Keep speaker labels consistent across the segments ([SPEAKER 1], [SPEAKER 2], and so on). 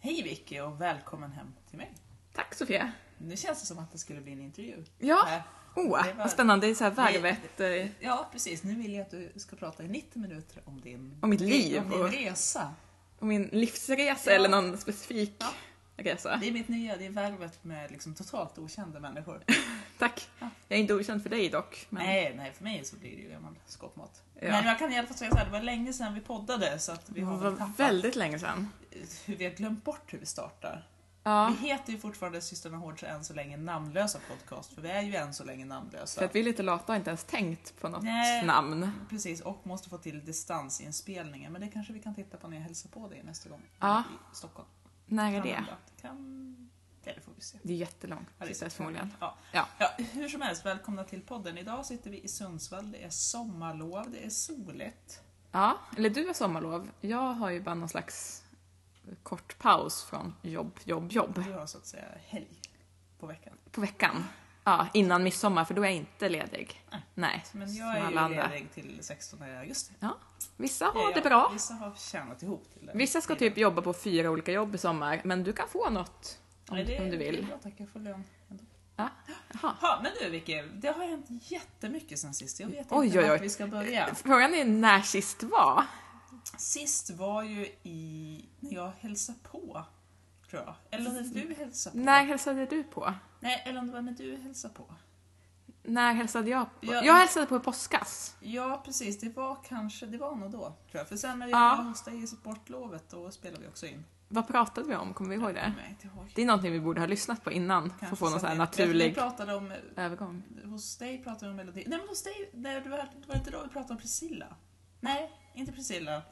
[SPEAKER 1] Hej Vicky och välkommen hem till mig.
[SPEAKER 2] Tack Sofia!
[SPEAKER 1] Nu känns det som att det skulle bli en intervju.
[SPEAKER 2] Ja,
[SPEAKER 1] Äh,
[SPEAKER 2] oh,
[SPEAKER 1] det var-
[SPEAKER 2] vad spännande. Det är så här
[SPEAKER 1] Vi-
[SPEAKER 2] vägvett. eh,
[SPEAKER 1] Ja, precis. Nu vill jag att du ska prata i 90 minuter om din,
[SPEAKER 2] Om mitt liv
[SPEAKER 1] Om din
[SPEAKER 2] och-
[SPEAKER 1] resa.
[SPEAKER 2] Om min livsresa
[SPEAKER 1] Ja.
[SPEAKER 2] eller någon specifik
[SPEAKER 1] Ja.
[SPEAKER 2] resa.
[SPEAKER 1] Det är mitt nya, det är värvet med liksom totalt okända människor.
[SPEAKER 2] Tack!
[SPEAKER 1] Ja.
[SPEAKER 2] Jag är inte okänd för dig dock. Men...
[SPEAKER 1] Nej, nej, för mig så blir det ju gammal skåpmat.
[SPEAKER 2] Ja.
[SPEAKER 1] Men jag kan i alla fall säga så här, det var länge sedan vi poddade så att vi
[SPEAKER 2] Det
[SPEAKER 1] har väl
[SPEAKER 2] var
[SPEAKER 1] tappat
[SPEAKER 2] väldigt länge sedan.
[SPEAKER 1] hur vi har glömt bort hur vi startar.
[SPEAKER 2] Ja,
[SPEAKER 1] Vi heter ju fortfarande Systrarna Hårds än så länge namnlösa podcast, för vi är ju än så länge namnlösa.
[SPEAKER 2] för att vi är lite lata och har inte ens tänkt på något
[SPEAKER 1] Nej.
[SPEAKER 2] namn.
[SPEAKER 1] Precis, och måste få till distansinspelningar. Men det kanske vi kan titta på när jag hälsar på dig nästa gång.
[SPEAKER 2] Ja.
[SPEAKER 1] I Stockholm.
[SPEAKER 2] När är
[SPEAKER 1] Kan
[SPEAKER 2] det?
[SPEAKER 1] hända. Kan... Ja, det får vi se.
[SPEAKER 2] Det är jättelångt
[SPEAKER 1] Ja, det är
[SPEAKER 2] tills dess
[SPEAKER 1] så.
[SPEAKER 2] förmodligen.
[SPEAKER 1] Ja.
[SPEAKER 2] Ja.
[SPEAKER 1] Ja, hur som helst, välkomna till podden. Idag sitter vi i Sundsvall, det är sommarlov, det är soligt.
[SPEAKER 2] Ja, eller du har sommarlov. Jag har ju bara någon slags kort paus från jobb, jobb, jobb
[SPEAKER 1] Du har så att säga helg på veckan.
[SPEAKER 2] på veckan. Ja, innan midsommar för då är jag inte ledig.
[SPEAKER 1] Nej.
[SPEAKER 2] Nej,
[SPEAKER 1] Men
[SPEAKER 2] som
[SPEAKER 1] jag är
[SPEAKER 2] alla
[SPEAKER 1] ju
[SPEAKER 2] andra.
[SPEAKER 1] ledig till 16 augusti.
[SPEAKER 2] Vissa har
[SPEAKER 1] Ja,
[SPEAKER 2] det
[SPEAKER 1] ja,
[SPEAKER 2] bra.
[SPEAKER 1] Vissa har tjänat ihop till det.
[SPEAKER 2] Vissa ska typ jobba på fyra olika jobb i sommar, men du kan få något om,
[SPEAKER 1] Nej, det,
[SPEAKER 2] om du
[SPEAKER 1] Det är
[SPEAKER 2] vill.
[SPEAKER 1] bra, tack. Jag får lön ändå.
[SPEAKER 2] Jaha.
[SPEAKER 1] Ha, men du Vicky, det har hänt jättemycket sen sist. Jag vet
[SPEAKER 2] Oj,
[SPEAKER 1] inte
[SPEAKER 2] oj,
[SPEAKER 1] vart
[SPEAKER 2] oj.
[SPEAKER 1] vi ska börja.
[SPEAKER 2] Frågan är när sist var.
[SPEAKER 1] Sist var ju i när jag hälsade på, tror jag. Eller när du hälsade på.
[SPEAKER 2] När hälsade du på?
[SPEAKER 1] Nej, eller om det var när du hälsade på.
[SPEAKER 2] När hälsade jag på?
[SPEAKER 1] Ja.
[SPEAKER 2] Jag hälsade på i påskas.
[SPEAKER 1] Ja, precis. Det var kanske, det var nog då, tror jag. För sen när
[SPEAKER 2] Ja.
[SPEAKER 1] jag hostade i sportlovet, då spelade vi också in.
[SPEAKER 2] Vad pratade vi om? Kommer vi ihåg det?
[SPEAKER 1] Nej, inte ihåg.
[SPEAKER 2] Det är någonting vi borde ha lyssnat på innan, för
[SPEAKER 1] Kanske
[SPEAKER 2] att få någon
[SPEAKER 1] så
[SPEAKER 2] sån här
[SPEAKER 1] att vi- Vi
[SPEAKER 2] naturlig
[SPEAKER 1] pratade om,
[SPEAKER 2] övergång.
[SPEAKER 1] hos dig pratade vi om melodi. Nej, men hos dig, nej, det var, det var inte då vi pratade om Priscilla. Nej, inte Priscilla.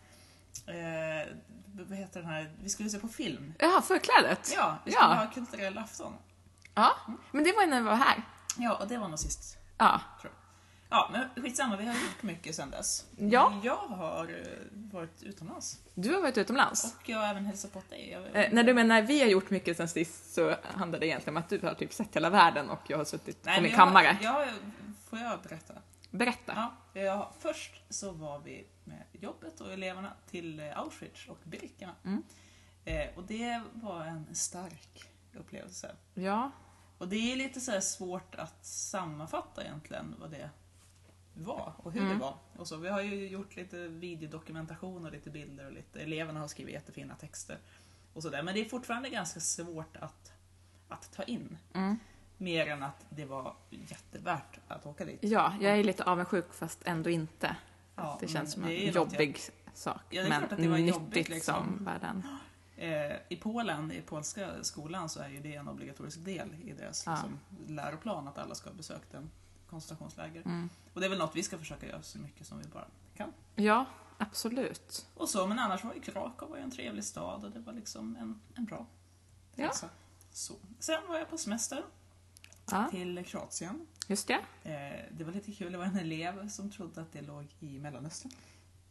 [SPEAKER 1] Eh, vad heter den här, vi skulle se på film.
[SPEAKER 2] Jaha, förklädet?
[SPEAKER 1] Ja, vi
[SPEAKER 2] Ja.
[SPEAKER 1] skulle ha kulturell afton.
[SPEAKER 2] Ja, men det var ju när vi var här.
[SPEAKER 1] Ja, och det var nog sist.
[SPEAKER 2] Ja.
[SPEAKER 1] Ja, men skitsamma, vi har gjort mycket sedan dess.
[SPEAKER 2] Ja.
[SPEAKER 1] Jag har eh, varit utomlands.
[SPEAKER 2] Du har varit utomlands.
[SPEAKER 1] Och jag har även hälsat på dig. Jag,
[SPEAKER 2] Eh, när du menar vi har gjort mycket sen sist så handlar det egentligen om att du har typ sett hela världen och jag har suttit
[SPEAKER 1] Nej,
[SPEAKER 2] på
[SPEAKER 1] men
[SPEAKER 2] min
[SPEAKER 1] jag-
[SPEAKER 2] kammare.
[SPEAKER 1] Jag, får jag berätta?
[SPEAKER 2] Berätta.
[SPEAKER 1] Ja, ja, först så var vi med jobbet och eleverna till eh, Auschwitz och Birkerna.
[SPEAKER 2] Mm.
[SPEAKER 1] Eh, och det var en stark upplevelse.
[SPEAKER 2] Ja.
[SPEAKER 1] Och det är lite så här svårt att sammanfatta egentligen vad det var och hur
[SPEAKER 2] Mm.
[SPEAKER 1] det var. Och så, vi har ju gjort lite videodokumentation och lite bilder och lite, eleverna har skrivit jättefina texter. Och så där. Men det är fortfarande ganska svårt att, att ta in.
[SPEAKER 2] Mm.
[SPEAKER 1] Mer än att det var jättevärt att åka dit.
[SPEAKER 2] Ja, jag är lite avundsjuk fast ändå inte.
[SPEAKER 1] Ja,
[SPEAKER 2] det
[SPEAKER 1] men
[SPEAKER 2] känns som
[SPEAKER 1] det
[SPEAKER 2] en
[SPEAKER 1] är ju något
[SPEAKER 2] jobbig sak.
[SPEAKER 1] Ja, det är klart att det var
[SPEAKER 2] men
[SPEAKER 1] jobbigt,
[SPEAKER 2] nyttigt
[SPEAKER 1] liksom.
[SPEAKER 2] som världen.
[SPEAKER 1] Eh, I Polen, i polska skolan, så är ju det en obligatorisk del i deras
[SPEAKER 2] Ja.
[SPEAKER 1] liksom, läroplan att alla ska ha besökt en koncentrationsläger.
[SPEAKER 2] Mm.
[SPEAKER 1] Och det är väl något vi ska försöka göra så mycket som vi bara kan.
[SPEAKER 2] Ja, absolut.
[SPEAKER 1] Och så, men annars var ju Krakow var ju en trevlig stad och det var liksom en, en bra
[SPEAKER 2] Ja.
[SPEAKER 1] resa. Så. Sen var jag på semester
[SPEAKER 2] Ja,
[SPEAKER 1] till Kroatien.
[SPEAKER 2] just det.
[SPEAKER 1] Eh, det var lite kul, det var en elev som trodde att det låg i Mellanöstern.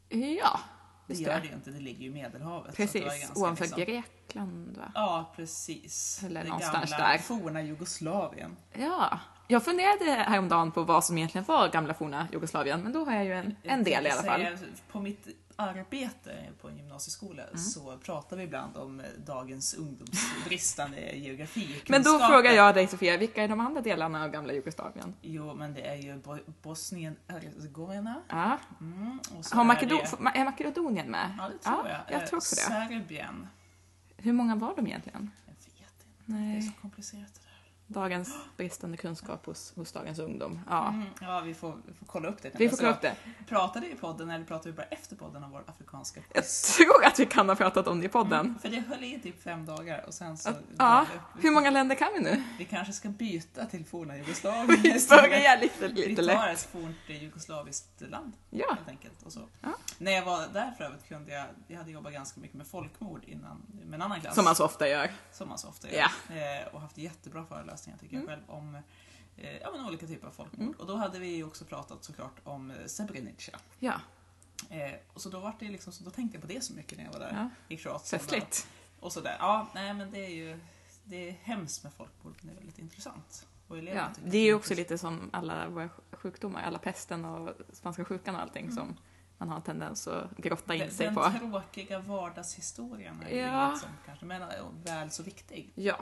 [SPEAKER 2] Ja,
[SPEAKER 1] Det
[SPEAKER 2] just
[SPEAKER 1] gör det
[SPEAKER 2] det.
[SPEAKER 1] ju inte, det ligger ju i Medelhavet. så att det var
[SPEAKER 2] Precis,
[SPEAKER 1] ganska
[SPEAKER 2] ovanför
[SPEAKER 1] liksom-
[SPEAKER 2] Grekland va?
[SPEAKER 1] Ja, precis.
[SPEAKER 2] Eller
[SPEAKER 1] det
[SPEAKER 2] någonstans
[SPEAKER 1] gamla
[SPEAKER 2] där.
[SPEAKER 1] forna Jugoslavien.
[SPEAKER 2] Ja. Jag funderade häromdagen på vad som egentligen var gamla forna Jugoslavien, men då har jag ju en, en del i alla fall.
[SPEAKER 1] Jag tänkte säga, På mitt arbete på en gymnasieskola
[SPEAKER 2] Mm.
[SPEAKER 1] så pratar vi ibland om dagens ungdomsbristande geografi.
[SPEAKER 2] Men då frågar jag dig Sofia, vilka är de andra delarna av gamla Jugoslavien?
[SPEAKER 1] Jo, men det är ju Bo- Bosnien Herzegovina.
[SPEAKER 2] Ja.
[SPEAKER 1] Mm, och så
[SPEAKER 2] Har
[SPEAKER 1] är
[SPEAKER 2] Makedo-
[SPEAKER 1] det-
[SPEAKER 2] är Makedonien med?
[SPEAKER 1] Ja, det tror jag.
[SPEAKER 2] jag tror också
[SPEAKER 1] Eh,
[SPEAKER 2] det.
[SPEAKER 1] Serbien.
[SPEAKER 2] Hur många var de egentligen?
[SPEAKER 1] Jag vet inte, det är
[SPEAKER 2] Nej.
[SPEAKER 1] så komplicerat det där.
[SPEAKER 2] Dagens bristande kunskap hos, hos dagens ungdom. Ja.
[SPEAKER 1] Mm, ja, vi får, vi får kolla upp det. Alltså,
[SPEAKER 2] Vi får kolla upp det.
[SPEAKER 1] Pratade vi i podden, eller pratade vi bara efter podden om vår afrikanska
[SPEAKER 2] Jag tror att vi kan ha pratat om det i podden.
[SPEAKER 1] Mm, För det höll i typ fem dagar och sen så...
[SPEAKER 2] Ja. Hur många länder kan vi nu?
[SPEAKER 1] Vi kanske ska byta till forna Jugoslavien
[SPEAKER 2] Vi börjar lite,
[SPEAKER 1] Vi
[SPEAKER 2] lite lätt.
[SPEAKER 1] tar ett fornt jugoslaviskt land
[SPEAKER 2] Ja.
[SPEAKER 1] helt enkelt. Och så.
[SPEAKER 2] Ja.
[SPEAKER 1] När jag var där för övrigt kunde jag, jag hade jobbat ganska mycket med folkmord innan, med en annan klass.
[SPEAKER 2] Som man så ofta gör.
[SPEAKER 1] som man så ofta gör.
[SPEAKER 2] Ja.
[SPEAKER 1] Eh, och haft jättebra föreläsningar tycker jag
[SPEAKER 2] Mm.
[SPEAKER 1] själv om eh, ja, men olika typer av folkmord.
[SPEAKER 2] Mm.
[SPEAKER 1] Och då hade vi ju också pratat såklart om eh, Srebrenica.
[SPEAKER 2] Ja.
[SPEAKER 1] Eh, och så då, var det liksom, så då tänkte jag på det så mycket när jag var där
[SPEAKER 2] ja.
[SPEAKER 1] i Kroatien.
[SPEAKER 2] Festligt.
[SPEAKER 1] Och sådär. Ja, nej men det är ju det är hemskt med folkmord, men det är väldigt intressant. Och eleverna
[SPEAKER 2] Ja.
[SPEAKER 1] tycker
[SPEAKER 2] Det är ju
[SPEAKER 1] är
[SPEAKER 2] också lite som alla våra sj- sjukdomar, alla pesten och spanska sjukan och allting som man har en tendens att grotta in
[SPEAKER 1] Den,
[SPEAKER 2] sig
[SPEAKER 1] den
[SPEAKER 2] på.
[SPEAKER 1] tråkiga vardagshistorien är ju
[SPEAKER 2] Ja.
[SPEAKER 1] inget sånt kanske, men eh, väl så viktig.
[SPEAKER 2] Ja,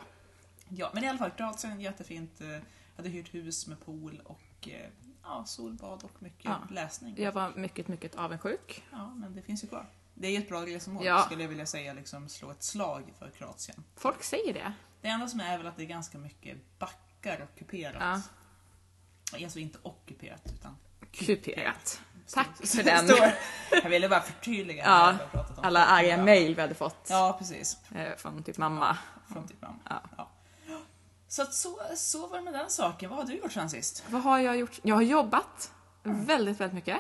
[SPEAKER 1] Ja, men i alla fall, Kroatien, jättefint. eh, Jag hade hyrt hus med pool och eh, ja, solbad och mycket
[SPEAKER 2] Ja.
[SPEAKER 1] läsning.
[SPEAKER 2] jag var mycket, mycket avundsjuk.
[SPEAKER 1] Ja, men det finns ju kvar. Det är ju ett bra resmål
[SPEAKER 2] Ja.
[SPEAKER 1] skulle jag vilja säga, liksom slå ett slag för Kroatien.
[SPEAKER 2] Folk säger det.
[SPEAKER 1] Det enda som är väl att det är ganska mycket backar ockuperat. Alltså inte ockuperat utan
[SPEAKER 2] Kuperat. Tack
[SPEAKER 1] stort-
[SPEAKER 2] för den.
[SPEAKER 1] stor. Jag ville bara förtydliga
[SPEAKER 2] Ja,
[SPEAKER 1] när vi har pratat om
[SPEAKER 2] Alla
[SPEAKER 1] det.
[SPEAKER 2] arga
[SPEAKER 1] Ja.
[SPEAKER 2] mejl vi hade fått
[SPEAKER 1] Ja, precis.
[SPEAKER 2] eh, från typ mamma.
[SPEAKER 1] Från typ mamma.
[SPEAKER 2] Ja.
[SPEAKER 1] Ja. Så, att så, så var det med den saken. Vad har du gjort sen sist?
[SPEAKER 2] Vad har jag gjort? Jag har jobbat väldigt, väldigt mycket.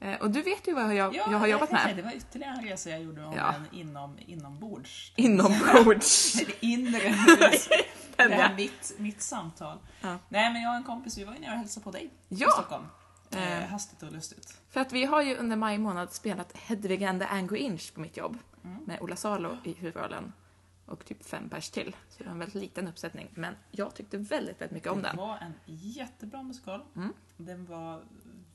[SPEAKER 2] Eh, Och du vet ju vad jag, jag har
[SPEAKER 1] det-
[SPEAKER 2] jobbat med.
[SPEAKER 1] Det var ytterligare en resa jag gjorde om
[SPEAKER 2] Ja.
[SPEAKER 1] en inom, inombords.
[SPEAKER 2] Inombords.
[SPEAKER 1] Eller inre. det
[SPEAKER 2] Den,
[SPEAKER 1] här
[SPEAKER 2] ja.
[SPEAKER 1] är mitt, mitt samtal.
[SPEAKER 2] Ja.
[SPEAKER 1] Nej, men jag och en kompis, vi var ju nere och hälsade på dig i
[SPEAKER 2] Ja,
[SPEAKER 1] Stockholm. Eh,
[SPEAKER 2] Eh.
[SPEAKER 1] hastigt och lustigt.
[SPEAKER 2] för att vi har ju under maj månad spelat Hedvig and the Angry Inch på mitt jobb
[SPEAKER 1] Mm.
[SPEAKER 2] med Ola Salo i huvudrollen och typ fem pers till. Så det var en väldigt liten uppsättning, men jag tyckte väldigt, väldigt mycket om
[SPEAKER 1] det
[SPEAKER 2] den.
[SPEAKER 1] var en jättebra musikal.
[SPEAKER 2] Mm.
[SPEAKER 1] Den var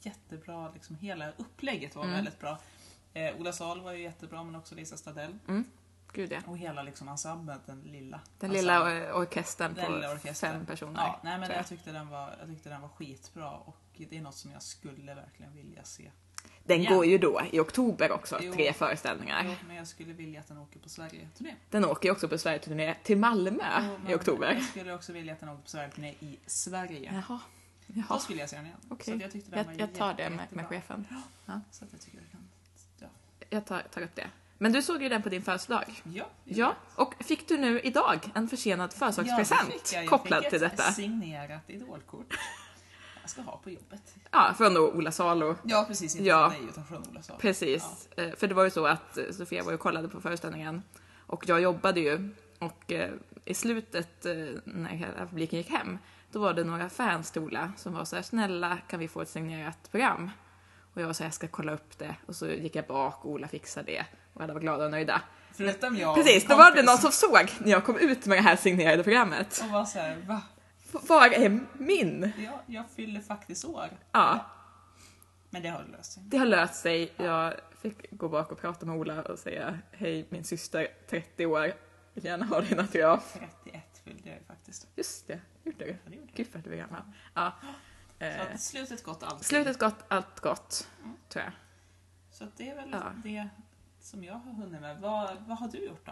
[SPEAKER 1] jättebra, liksom hela upplägget var
[SPEAKER 2] Mm.
[SPEAKER 1] väldigt bra. Eh, Ola Sal var ju jättebra, men också Lisa Stadell.
[SPEAKER 2] Gud ja.
[SPEAKER 1] Och hela liksom ensemblen, den lilla.
[SPEAKER 2] Den
[SPEAKER 1] ensemblen.
[SPEAKER 2] lilla eh, orkestern
[SPEAKER 1] Alltså, Den lilla
[SPEAKER 2] på
[SPEAKER 1] orkestern.
[SPEAKER 2] fem personer.
[SPEAKER 1] Ja, nej, men alltså,
[SPEAKER 2] tror jag.
[SPEAKER 1] jag tyckte, den var, jag tyckte den var skitbra och det är något som jag skulle verkligen vilja se.
[SPEAKER 2] Den
[SPEAKER 1] Ja.
[SPEAKER 2] går ju då i oktober också,
[SPEAKER 1] Jo.
[SPEAKER 2] tre föreställningar.
[SPEAKER 1] Jo, men jag skulle vilja att den åker på Sverige-turné.
[SPEAKER 2] Den åker ju också på Sverigeturné till Malmö
[SPEAKER 1] Jo, men
[SPEAKER 2] i oktober.
[SPEAKER 1] Jag skulle också vilja att den åker på Sverige-turné i Sverige.
[SPEAKER 2] Jaha.
[SPEAKER 1] Då
[SPEAKER 2] Jaha.
[SPEAKER 1] skulle jag se den igen.
[SPEAKER 2] Okej.
[SPEAKER 1] Så att jag tyckte den var
[SPEAKER 2] Jag, jag tar det med,
[SPEAKER 1] jättebra.
[SPEAKER 2] med chefen.
[SPEAKER 1] Så att jag tycker jag kan...
[SPEAKER 2] Jag tar, tar upp det. Men du såg ju den på din födelsedag.
[SPEAKER 1] Ja, det
[SPEAKER 2] Ja, och fick du nu idag en försenad
[SPEAKER 1] Ja, det
[SPEAKER 2] födelsedagspresent
[SPEAKER 1] fick jag. Jag
[SPEAKER 2] kopplad
[SPEAKER 1] fick
[SPEAKER 2] till
[SPEAKER 1] ett
[SPEAKER 2] detta?
[SPEAKER 1] signerat idolkort. Jag ska ha på jobbet.
[SPEAKER 2] Ja, från då Ola Salo.
[SPEAKER 1] Ja, precis. Inte
[SPEAKER 2] Ja.
[SPEAKER 1] från dig utan från Ola Sahl.
[SPEAKER 2] Precis. Eh, För det var ju så att eh, Sofia var ju och kollade på föreställningen och jag jobbade ju och eh, i slutet eh, när hela publiken gick hem då var det några fans till Ola som var så här snälla kan vi få ett signerat program? Och jag var så här, jag ska kolla upp det och så gick jag bak och Ola fixade det och alla var glada och nöjda.
[SPEAKER 1] Förutom jag och
[SPEAKER 2] Precis, då
[SPEAKER 1] kompis.
[SPEAKER 2] var det någon som såg när jag kom ut med det här signerade programmet.
[SPEAKER 1] Och var såhär, va?
[SPEAKER 2] Var är min?
[SPEAKER 1] Ja, jag fyller faktiskt år.
[SPEAKER 2] Ja,
[SPEAKER 1] Men det har löst sig.
[SPEAKER 2] det har löst sig. Jag fick gå bak och prata med Ola och säga hej min syster 30 år, vill gärna ha din autograf.
[SPEAKER 1] 31 fyllde jag ju faktiskt.
[SPEAKER 2] Just det, gjorde du?
[SPEAKER 1] Ja, det gjorde jag.
[SPEAKER 2] Gud vad du är gammal. Ja.
[SPEAKER 1] Så
[SPEAKER 2] Eh,
[SPEAKER 1] att slutet gott alltid.
[SPEAKER 2] slutet gott, allt gott, tror jag.
[SPEAKER 1] Så att det är väl
[SPEAKER 2] Ja.
[SPEAKER 1] det som jag har hunnit med. Vad, vad har du gjort då?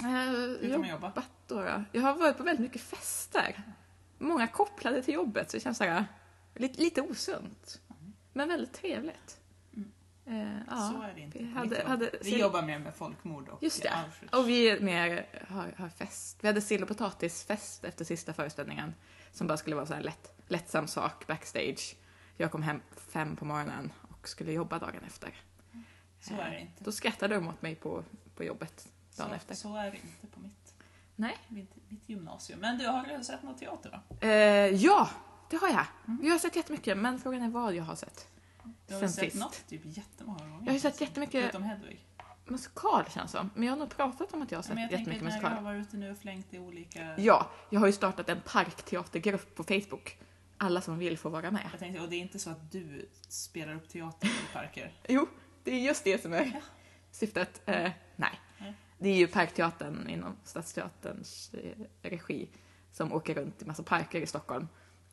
[SPEAKER 2] Eh,
[SPEAKER 1] Utom att jobba?
[SPEAKER 2] jobbat då, då. Jag har varit på väldigt mycket fester. Många kopplade till jobbet, så det känns såhär, lite, lite osunt. Men väldigt trevligt.
[SPEAKER 1] Mm.
[SPEAKER 2] Eh, ja.
[SPEAKER 1] Så är det inte.
[SPEAKER 2] vi
[SPEAKER 1] på
[SPEAKER 2] hade-
[SPEAKER 1] mitt jobb.
[SPEAKER 2] hade-
[SPEAKER 1] vi jobbar mer med folkmord och
[SPEAKER 2] Just det.
[SPEAKER 1] Auschwitz.
[SPEAKER 2] Och vi är mer har, har fest. Vi hade sill och potatisfest efter sista föreställningen. Som bara skulle vara så här lätt, lättsam sak backstage. Jag kom hem fem på morgonen och skulle jobba dagen efter. Eh,
[SPEAKER 1] Så är det inte.
[SPEAKER 2] Då skrattade de åt mig på, på jobbet dagen
[SPEAKER 1] så,
[SPEAKER 2] efter.
[SPEAKER 1] så är det inte på mitt,
[SPEAKER 2] Nej.
[SPEAKER 1] mitt, mitt gymnasium. Men du har väl sett någon teater va?
[SPEAKER 2] Eh, ja, det har jag.
[SPEAKER 1] Mm.
[SPEAKER 2] Jag har sett jättemycket, men frågan är vad jag har sett.
[SPEAKER 1] Du har väl
[SPEAKER 2] Sen
[SPEAKER 1] sett
[SPEAKER 2] sist.
[SPEAKER 1] något typ jättemånga gånger?
[SPEAKER 2] Jag har ju sett jättemycket-
[SPEAKER 1] Utom Hedvig.
[SPEAKER 2] Musikal känns som, men jag har nog pratat om att jag har
[SPEAKER 1] Ja,
[SPEAKER 2] sett
[SPEAKER 1] men jag tänker
[SPEAKER 2] jättemycket
[SPEAKER 1] att när jag har
[SPEAKER 2] musikal.
[SPEAKER 1] varit ute nu och flängt i olika...
[SPEAKER 2] Ja, jag har ju startat en parkteatergrupp på Facebook. Alla som vill får vara med.
[SPEAKER 1] Jag tänkte, och det är inte så att du spelar upp teater i parker?
[SPEAKER 2] Jo, det är just det som är syftet. Eh, nej.
[SPEAKER 1] Nej.
[SPEAKER 2] Det är ju Parkteatern inom Stadsteaterns eh, regi som åker runt i massa parker i Stockholm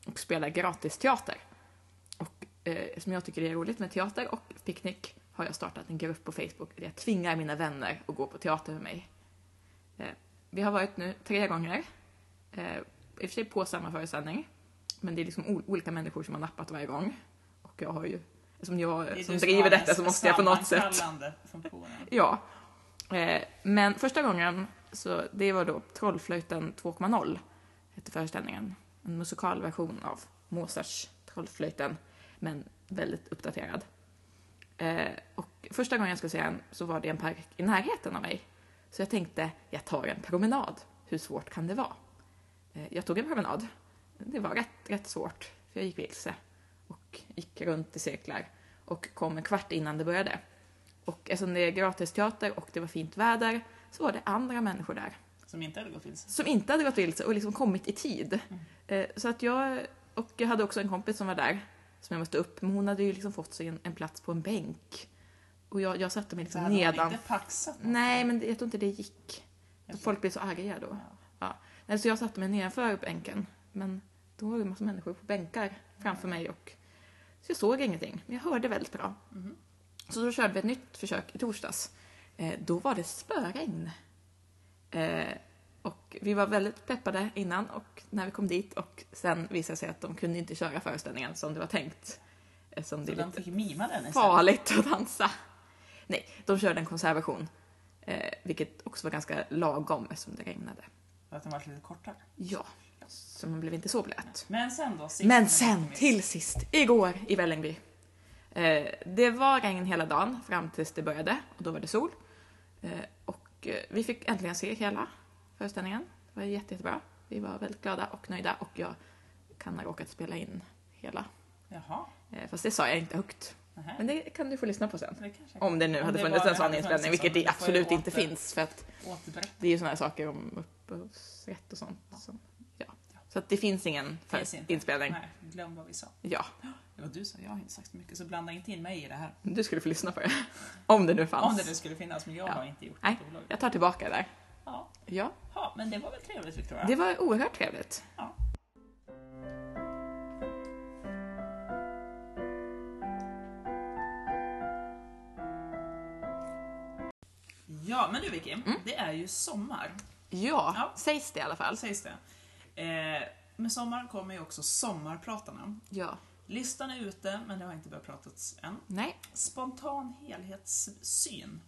[SPEAKER 2] och spelar gratisteater. Och eh, som jag tycker det är roligt med teater och picknick har jag startat en grupp på Facebook där jag tvingar mina vänner att gå på teater med mig. Eh, vi har varit nu tre gånger, eh, i och för sig på samma föreställning, men det är liksom o- olika människor som har nappat varje gång. Och jag har ju, som
[SPEAKER 1] Det är
[SPEAKER 2] jag
[SPEAKER 1] du
[SPEAKER 2] som
[SPEAKER 1] har
[SPEAKER 2] driver detta
[SPEAKER 1] den
[SPEAKER 2] så måste jag på något sätt
[SPEAKER 1] sammankallande funktionen.
[SPEAKER 2] Ja. Eh, men första gången, så det var då Trollflöjten 2.0, hette föreställningen. En musikalversion av Mozarts Trollflöjten, men väldigt uppdaterad. Eh, och första gången jag skulle se den så var det en park i närheten av mig. Så jag tänkte, jag tar en promenad. Hur svårt kan det vara? Eh, jag tog en promenad. Det var rätt, rätt svårt, för jag gick vilse och gick runt i cirklar och kom en kvart innan det började. Och eftersom det är gratisteater och det var fint väder så var det andra människor där
[SPEAKER 1] Som inte hade gått vilse.
[SPEAKER 2] som inte hade gått vilse och liksom kommit i tid.
[SPEAKER 1] Mm.
[SPEAKER 2] Eh, Så att jag, och jag hade också en kompis som var där som jag mötte upp, men hon hade ju liksom fått sig en, en plats på en bänk. Och jag, jag satte
[SPEAKER 1] Så
[SPEAKER 2] mig liksom
[SPEAKER 1] hade man
[SPEAKER 2] nedan.
[SPEAKER 1] inte paxat något.
[SPEAKER 2] Nej, men det- jag tror inte det gick.
[SPEAKER 1] Jag
[SPEAKER 2] Folk blev så arga då.
[SPEAKER 1] Ja.
[SPEAKER 2] Ja. Nej, Så jag satte mig nedanför bänken. Men då var det en massa människor på bänkar framför mig. Och... Så jag såg ingenting, men jag hörde väldigt bra.
[SPEAKER 1] Mhm.
[SPEAKER 2] Så då körde vi ett nytt försök i torsdags. Eh, då var det spöregn. Eh, och vi var väldigt peppade innan och när vi kom dit och sen visade det sig att de kunde inte köra föreställningen som det var tänkt. Eftersom det
[SPEAKER 1] Så
[SPEAKER 2] är
[SPEAKER 1] de
[SPEAKER 2] lite
[SPEAKER 1] fick mima den istället.
[SPEAKER 2] farligt att dansa. Nej, de körde en konservation. Eh, vilket också var ganska lagom eftersom det regnade.
[SPEAKER 1] För att den var lite kortare.
[SPEAKER 2] Ja, så man blev inte så blöt.
[SPEAKER 1] Men sen då? sist
[SPEAKER 2] Men
[SPEAKER 1] men
[SPEAKER 2] sen
[SPEAKER 1] inte minst.
[SPEAKER 2] till sist, igår i Vällingby. Eh, det var regn hela dagen fram tills det började och då var det sol. Eh, och eh, vi fick äntligen se hela föreställningen. Det var jätte, jättebra. Vi var väldigt glada och nöjda och jag kan ha råkat spela in hela.
[SPEAKER 1] Jaha.
[SPEAKER 2] Eh, fast det sa jag inte högt.
[SPEAKER 1] Nähä.
[SPEAKER 2] Men det kan du få lyssna på sen.
[SPEAKER 1] Det kanske
[SPEAKER 2] Om det nu
[SPEAKER 1] Om
[SPEAKER 2] hade
[SPEAKER 1] det
[SPEAKER 2] funnits
[SPEAKER 1] bara
[SPEAKER 2] en sån
[SPEAKER 1] hade funnits
[SPEAKER 2] inställning,
[SPEAKER 1] en sån,
[SPEAKER 2] vilket det
[SPEAKER 1] då får jag
[SPEAKER 2] absolut inte
[SPEAKER 1] åter-
[SPEAKER 2] finns. För att
[SPEAKER 1] återberättar.
[SPEAKER 2] det är ju såna här saker om upphovsrätt och sånt. Som, ja. Så att det finns ingen
[SPEAKER 1] Finns
[SPEAKER 2] för-
[SPEAKER 1] inte.
[SPEAKER 2] inspelning.
[SPEAKER 1] Nej, glöm vad vi sa.
[SPEAKER 2] Ja,
[SPEAKER 1] Det var du som, jag har inte sagt så mycket, så blanda inte in mig i det här.
[SPEAKER 2] du skulle få lyssna på det. Om det nu
[SPEAKER 1] Om
[SPEAKER 2] fanns.
[SPEAKER 1] det nu skulle finnas, men jag
[SPEAKER 2] Ja.
[SPEAKER 1] har inte gjort
[SPEAKER 2] Nej.
[SPEAKER 1] något olagligt.
[SPEAKER 2] Jag tar tillbaka det där.
[SPEAKER 1] Ja.
[SPEAKER 2] Ja,
[SPEAKER 1] ja, men det var väl trevligt Victoria?
[SPEAKER 2] det var oerhört trevligt.
[SPEAKER 1] Ja. Ja, men du Vicky,
[SPEAKER 2] Mm.
[SPEAKER 1] det är ju sommar,
[SPEAKER 2] Ja,
[SPEAKER 1] Ja.
[SPEAKER 2] sägs det i alla fall.
[SPEAKER 1] sägs det. Eh, med sommaren kommer ju också sommarpratarna.
[SPEAKER 2] Ja.
[SPEAKER 1] Listan är ute, men det har inte börjat pratas än.
[SPEAKER 2] Nej,
[SPEAKER 1] Spontan helhetssyn.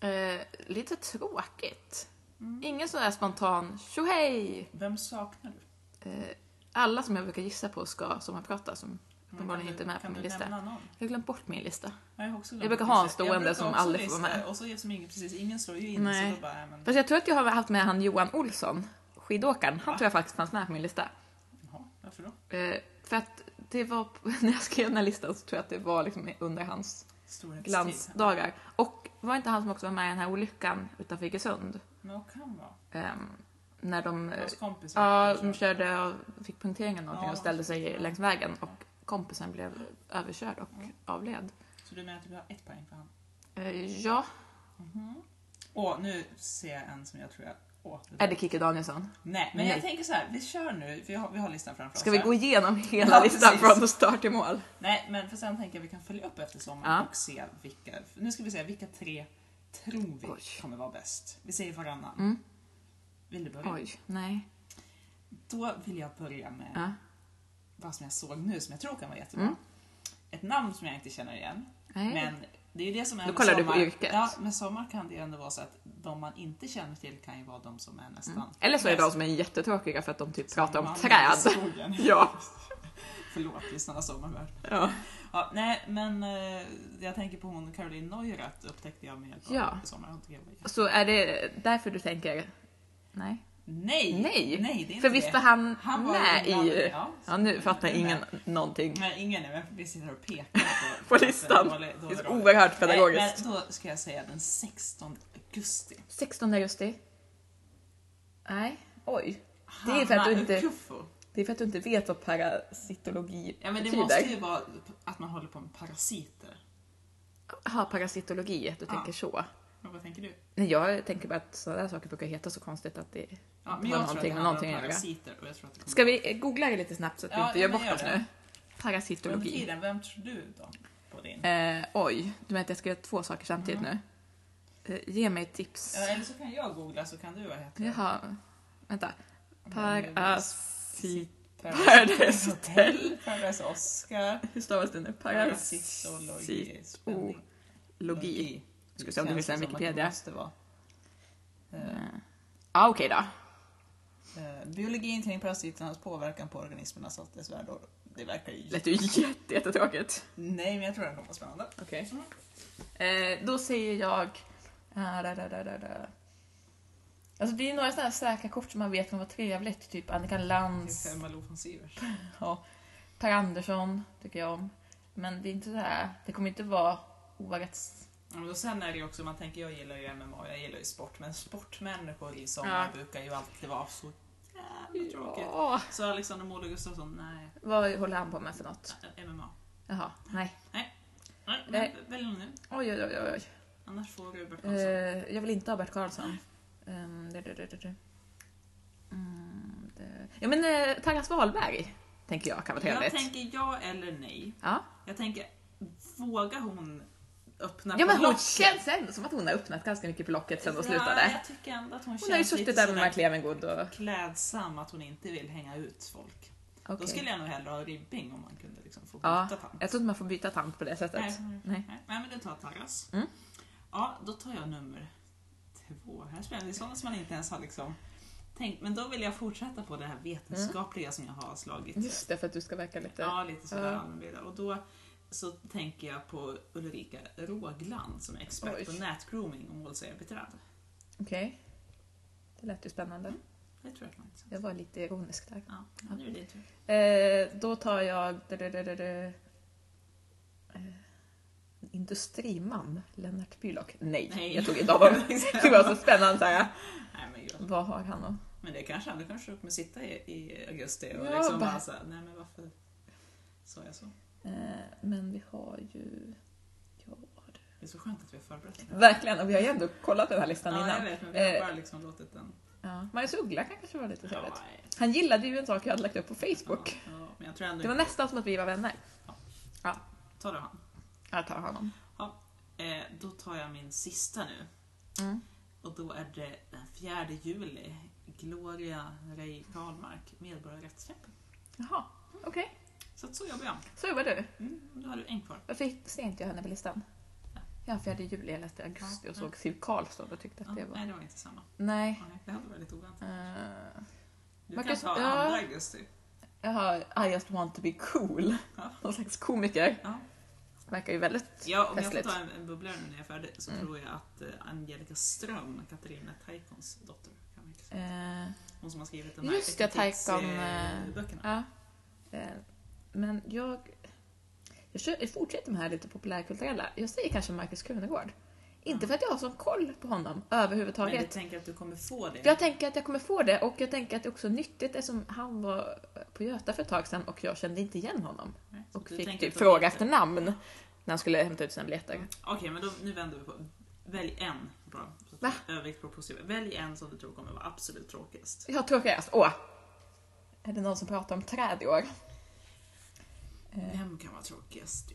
[SPEAKER 2] eh, lite tråkigt.
[SPEAKER 1] Mm.
[SPEAKER 2] Ingen sån där spontan tjohej!
[SPEAKER 1] Vem saknar du?
[SPEAKER 2] Eh, alla som jag brukar gissa på ska sommarprata som uppenbarligen
[SPEAKER 1] Kan
[SPEAKER 2] inte
[SPEAKER 1] du-
[SPEAKER 2] är med på
[SPEAKER 1] kan
[SPEAKER 2] min
[SPEAKER 1] du
[SPEAKER 2] lista. Jag
[SPEAKER 1] nämna någon?
[SPEAKER 2] har glömt bort min lista.
[SPEAKER 1] Ja, Jag, har också glömt
[SPEAKER 2] Jag brukar ha en
[SPEAKER 1] lista.
[SPEAKER 2] stående
[SPEAKER 1] Jag brukar
[SPEAKER 2] som
[SPEAKER 1] också
[SPEAKER 2] aldrig får
[SPEAKER 1] lista,
[SPEAKER 2] vara med.
[SPEAKER 1] Och så eftersom ingen, precis, ingen slår ju in
[SPEAKER 2] Nej.
[SPEAKER 1] så då bara, nej, men,
[SPEAKER 2] Fast jag tror att jag har haft med han Johan Olsson, skidåkaren. Han tror jag faktiskt fanns med på min lista.
[SPEAKER 1] jaha, varför då?
[SPEAKER 2] Eh, för att det var, när jag skrev den här listan så tror jag att det var liksom under hans
[SPEAKER 1] Storhetstid.
[SPEAKER 2] glansdagar. Och var inte han som också var med i den här olyckan utanför Iggesund?
[SPEAKER 1] Men vad kan vara?
[SPEAKER 2] Ehm, när de... eh,
[SPEAKER 1] Hans kompis?
[SPEAKER 2] Ja, de körde och fick punktering eller någonting
[SPEAKER 1] Ja,
[SPEAKER 2] och
[SPEAKER 1] de
[SPEAKER 2] ställde
[SPEAKER 1] körde.
[SPEAKER 2] sig längs vägen och kompisen blev överkörd och
[SPEAKER 1] Mm.
[SPEAKER 2] avled.
[SPEAKER 1] Så du menar att vi har ett poäng för han?
[SPEAKER 2] Eh, ja,
[SPEAKER 1] Åh, nu ser jag en som jag tror jag... Åh, det
[SPEAKER 2] är
[SPEAKER 1] där.
[SPEAKER 2] det Kikki Danielsson?
[SPEAKER 1] Nej, men
[SPEAKER 2] Nej.
[SPEAKER 1] jag tänker så här, vi kör nu, vi har, vi har listan framför
[SPEAKER 2] Ska
[SPEAKER 1] oss.
[SPEAKER 2] vi
[SPEAKER 1] här.
[SPEAKER 2] gå igenom hela
[SPEAKER 1] Ja,
[SPEAKER 2] listan
[SPEAKER 1] precis.
[SPEAKER 2] från start till mål?
[SPEAKER 1] Nej, men för sen tänker jag vi kan följa upp efter sommaren
[SPEAKER 2] Ja.
[SPEAKER 1] och se vilka... Nu ska vi se, vilka tre tror vi
[SPEAKER 2] Oj.
[SPEAKER 1] kommer vara bäst? Vi säger varannan.
[SPEAKER 2] Mm.
[SPEAKER 1] Vill du börja?
[SPEAKER 2] Oj, nej.
[SPEAKER 1] Då vill jag börja med
[SPEAKER 2] Ja. Mm.
[SPEAKER 1] vad som jag såg nu som jag tror kan vara jättebra. Ett namn som jag inte känner igen.
[SPEAKER 2] Nej.
[SPEAKER 1] Men det är ju det som är
[SPEAKER 2] Då
[SPEAKER 1] med
[SPEAKER 2] kollar du på
[SPEAKER 1] sommar.
[SPEAKER 2] yrket.
[SPEAKER 1] Ja, med sommar kan det ju ändå vara så att de man inte känner till kan ju vara de som är nästan...
[SPEAKER 2] Mm. Eller så är det de
[SPEAKER 1] bäst.
[SPEAKER 2] som är jättetråkiga för att de typ pratar om
[SPEAKER 1] Mannen i
[SPEAKER 2] träd.
[SPEAKER 1] skogen.
[SPEAKER 2] Ja.
[SPEAKER 1] Förlåt, lyssnarna sommarvärld.
[SPEAKER 2] Ja.
[SPEAKER 1] Ja, nej, men eh, jag tänker på hon Caroline Neurath upptäckte jag med hjälp av
[SPEAKER 2] Ja.
[SPEAKER 1] sommar. Hon tycker jag var jätte-
[SPEAKER 2] Så är det därför du tänker... Nej.
[SPEAKER 1] Nej!
[SPEAKER 2] Nej!
[SPEAKER 1] nej det är inte
[SPEAKER 2] För visst
[SPEAKER 1] det.
[SPEAKER 2] var han,
[SPEAKER 1] Han var
[SPEAKER 2] med
[SPEAKER 1] inblandad,
[SPEAKER 2] i...
[SPEAKER 1] ja.
[SPEAKER 2] Ja, nu fattar
[SPEAKER 1] Den där.
[SPEAKER 2] ingen någonting.
[SPEAKER 1] Nej, ingen är med. Vi sitter och pekar på,
[SPEAKER 2] På listan.
[SPEAKER 1] dålig-
[SPEAKER 2] Det
[SPEAKER 1] dålig
[SPEAKER 2] är så
[SPEAKER 1] roll.
[SPEAKER 2] oerhört
[SPEAKER 1] Nej,
[SPEAKER 2] pedagogiskt.
[SPEAKER 1] Men då ska jag säga den 16 augusti.
[SPEAKER 2] 16 augusti. Nej, oj. Det är för att du
[SPEAKER 1] Hanna
[SPEAKER 2] inte-
[SPEAKER 1] Ukufo.
[SPEAKER 2] Det är för att du inte vet vad parasitologi
[SPEAKER 1] Ja men det
[SPEAKER 2] betyder.
[SPEAKER 1] måste ju vara att man håller på med parasiter.
[SPEAKER 2] Aha, parasitologi, att du
[SPEAKER 1] Ja.
[SPEAKER 2] tänker så.
[SPEAKER 1] Men vad tänker du?
[SPEAKER 2] Nej, jag tänker bara att sådana där saker brukar heta så konstigt att det...
[SPEAKER 1] Ja,
[SPEAKER 2] Det
[SPEAKER 1] men jag tror att
[SPEAKER 2] var någonting
[SPEAKER 1] det
[SPEAKER 2] med
[SPEAKER 1] handlar
[SPEAKER 2] någonting
[SPEAKER 1] om
[SPEAKER 2] att göra.
[SPEAKER 1] parasiter och jag tror att det kommer
[SPEAKER 2] Ska vi eh, googla det lite snabbt så att vi
[SPEAKER 1] Ja,
[SPEAKER 2] inte
[SPEAKER 1] ja,
[SPEAKER 2] gör
[SPEAKER 1] men
[SPEAKER 2] bort
[SPEAKER 1] gör
[SPEAKER 2] oss
[SPEAKER 1] det.
[SPEAKER 2] nu?
[SPEAKER 1] Under
[SPEAKER 2] Parasitologi.
[SPEAKER 1] tiden, vem tror du då på din?
[SPEAKER 2] Eh, oj, du menar att jag ska göra två saker samtidigt nu? Eh, ge mig ett tips.
[SPEAKER 1] Mm. Ja, Eller så kan jag googla så kan du vad heter det?
[SPEAKER 2] Jaha, vänta. Parasit... Paradise
[SPEAKER 1] Paradise Hotel, Paradise Oscar,
[SPEAKER 2] Hur stavas det nu?
[SPEAKER 1] Parasitologi.
[SPEAKER 2] Parasitologi. Ska se om det
[SPEAKER 1] känns
[SPEAKER 2] finns en
[SPEAKER 1] som att det
[SPEAKER 2] Wikipedia.
[SPEAKER 1] måste vara. Eh,
[SPEAKER 2] Ja, okej då.
[SPEAKER 1] eh, biologin kring parasiternas påverkan på organismernas attisvärdor. Det verkar ju...
[SPEAKER 2] Lät ju jätte, jättetråkigt.
[SPEAKER 1] Nej, men jag tror det kommer vara spännande.
[SPEAKER 2] Okej. Eh, då säger jag... Ah, da, da, da, da, da. Alltså det är ju några sådana här säkra kort som man vet kan vara trevligt. Typ Annika
[SPEAKER 1] Till
[SPEAKER 2] Lantz,
[SPEAKER 1] exempel Malou von Sivers.
[SPEAKER 2] ja, Per Andersson tycker jag om. Men det är inte så här, det kommer inte vara årets...
[SPEAKER 1] Ja, men då sen är det ju också, man tänker jag gillar ju MMA, jag gillar ju sport, men sportmänniskor i sommar brukar ju alltid vara så jävla tråkigt.
[SPEAKER 2] Ja,
[SPEAKER 1] Så liksom Alexander Mård och Gustafsson, nej, eh,
[SPEAKER 2] vad håller han på med för något?
[SPEAKER 1] MMA.
[SPEAKER 2] Jaha, nej.
[SPEAKER 1] Nej. men
[SPEAKER 2] Nej.
[SPEAKER 1] välj någon nu.
[SPEAKER 2] Oj, oj, oj. oj.
[SPEAKER 1] Annars får du Bert Karlsson.
[SPEAKER 2] Eh, jag vill inte ha Bert Karlsson. Um, det, det, det, det, det. Mm, det. Ja, men eh, Taggas Wahlberg tänker jag kan vara
[SPEAKER 1] jag
[SPEAKER 2] trevligt.
[SPEAKER 1] tänker ja eller nej.
[SPEAKER 2] Ja.
[SPEAKER 1] Jag tänker, vågar hon öppna
[SPEAKER 2] ja, men
[SPEAKER 1] på
[SPEAKER 2] hon liksom
[SPEAKER 1] locket?
[SPEAKER 2] känns ändå som att hon har öppnat ganska mycket på locket sen hon
[SPEAKER 1] Ja,
[SPEAKER 2] slutade.
[SPEAKER 1] jag tycker ändå att hon,
[SPEAKER 2] Hon har ju
[SPEAKER 1] känns lite
[SPEAKER 2] suttit där med
[SPEAKER 1] sådär
[SPEAKER 2] Mark Levengood och...
[SPEAKER 1] klädsam, att hon inte vill hänga ut folk. Då
[SPEAKER 2] Okej.
[SPEAKER 1] skulle jag nog hellre ha ribbing om man kunde liksom få
[SPEAKER 2] Ja,
[SPEAKER 1] byta tant.
[SPEAKER 2] jag tror inte man får byta tant på det sättet.
[SPEAKER 1] Nej,
[SPEAKER 2] Nej.
[SPEAKER 1] nej, men du tar Tarras.
[SPEAKER 2] Mm.
[SPEAKER 1] Ja, då tar jag nummer två. Här spelar det är sådana som man inte ens har liksom tänkt. Men då vill jag fortsätta på det här vetenskapliga som jag har slagit.
[SPEAKER 2] Mm. Just det, för att du ska verka lite...
[SPEAKER 1] Ja, lite sådär
[SPEAKER 2] Ja.
[SPEAKER 1] allmänbildad. Och då så tänker jag på Ulrika Rågland som är expert
[SPEAKER 2] Oj.
[SPEAKER 1] på nätgrooming och målsägarbiträde.
[SPEAKER 2] Okej. Det lät ju spännande.
[SPEAKER 1] Det tror jag kan vara intressant.
[SPEAKER 2] Jag var lite ironisk där.
[SPEAKER 1] Ja, ja, nu är det din tur.
[SPEAKER 2] Eh, då tar jag... Eh, industriman Lennart Bylock. Nej,
[SPEAKER 1] Nej.
[SPEAKER 2] jag tog inte honom. Det var så spännande. Så här.
[SPEAKER 1] Nej, men, gud.
[SPEAKER 2] Vad har han då?
[SPEAKER 1] men det kanske han, du kanske kommer sitta i, i augusti och
[SPEAKER 2] Ja,
[SPEAKER 1] liksom
[SPEAKER 2] bara-
[SPEAKER 1] bara såhär, nej men varför sa jag så?
[SPEAKER 2] Eh, men vi har ju... Ja,
[SPEAKER 1] Det är så skönt att vi har förberett det.
[SPEAKER 2] verkligen. Och vi har ju ändå kollat den här listan
[SPEAKER 1] Ja, jag
[SPEAKER 2] innan.
[SPEAKER 1] vet, men vi har
[SPEAKER 2] Eh,
[SPEAKER 1] bara liksom låtit den...
[SPEAKER 2] Ja. Magnus Uggla kan kanske var lite trevligt.
[SPEAKER 1] Ja,
[SPEAKER 2] Han gillade ju en sak jag hade lagt upp på
[SPEAKER 1] ja,
[SPEAKER 2] Facebook.
[SPEAKER 1] ja, men jag tror ändå
[SPEAKER 2] Det var
[SPEAKER 1] inte-
[SPEAKER 2] nästan som att vi var vänner.
[SPEAKER 1] Tar du han?
[SPEAKER 2] Jag tar honom.
[SPEAKER 1] Eh, då tar jag min sista nu.
[SPEAKER 2] Mm.
[SPEAKER 1] Och då är det den 4 juli. Gloria Rey Karlmark, medborgarrättskämpe.
[SPEAKER 2] Jaha, okej.
[SPEAKER 1] Så att så jobbar jag.
[SPEAKER 2] Så jobbar du.
[SPEAKER 1] Mm, då har du en kvar.
[SPEAKER 2] Varför gick- ser inte jag henne på listan? Ja, 4 juli, jag läste augusti och såg Siw Karlsson och tyckte
[SPEAKER 1] Ja,
[SPEAKER 2] att det Eh. var...
[SPEAKER 1] Nej, det var inte samma.
[SPEAKER 2] Nej.
[SPEAKER 1] Ja, Det hade varit lite oväntat.
[SPEAKER 2] Uh,
[SPEAKER 1] Du
[SPEAKER 2] Man
[SPEAKER 1] kan
[SPEAKER 2] kan-
[SPEAKER 1] ta
[SPEAKER 2] ja.
[SPEAKER 1] andra augusti.
[SPEAKER 2] jag har I just want to be cool.
[SPEAKER 1] Ja.
[SPEAKER 2] Någon slags komiker.
[SPEAKER 1] Ja.
[SPEAKER 2] Verkar ju väldigt
[SPEAKER 1] Ja, om jag får
[SPEAKER 2] festligt. Mm.
[SPEAKER 1] ta en, en bubblare nu när jag är färdig så tror jag att eh, Angelica Ström, Katarina Taikons dotter, kan vara intressant.
[SPEAKER 2] Eh,
[SPEAKER 1] hon som har skrivit de
[SPEAKER 2] Just det, Taikon, eh,
[SPEAKER 1] böckerna.
[SPEAKER 2] ja. Eh, men jag... Jag, kör, jag fortsätter med det här lite populärkulturella. Jag säger kanske Markus Krunegård. Inte för att jag har sån koll på honom
[SPEAKER 1] Men
[SPEAKER 2] överhuvudtaget.
[SPEAKER 1] du tänker att du kommer få det?
[SPEAKER 2] Jag tänker att jag kommer få det och jag tänker att det är också nyttigt eftersom han var på Göta för ett tag sedan och jag kände inte igen honom.
[SPEAKER 1] Nej, så
[SPEAKER 2] Och
[SPEAKER 1] du
[SPEAKER 2] fick
[SPEAKER 1] tänker
[SPEAKER 2] typ
[SPEAKER 1] att-
[SPEAKER 2] fråga efter namn när han skulle hämta ut sina biljetter.
[SPEAKER 1] Okej, men då, nu vänder vi på. Välj en bra. Så att
[SPEAKER 2] Va?
[SPEAKER 1] Övervikt på positiva. Välj en som du tror kommer vara absolut tråkigast.
[SPEAKER 2] Jag har tråkigast. Åh! Är det någon som pratar om träd i år? Eh,
[SPEAKER 1] Vem kan vara tråkigast?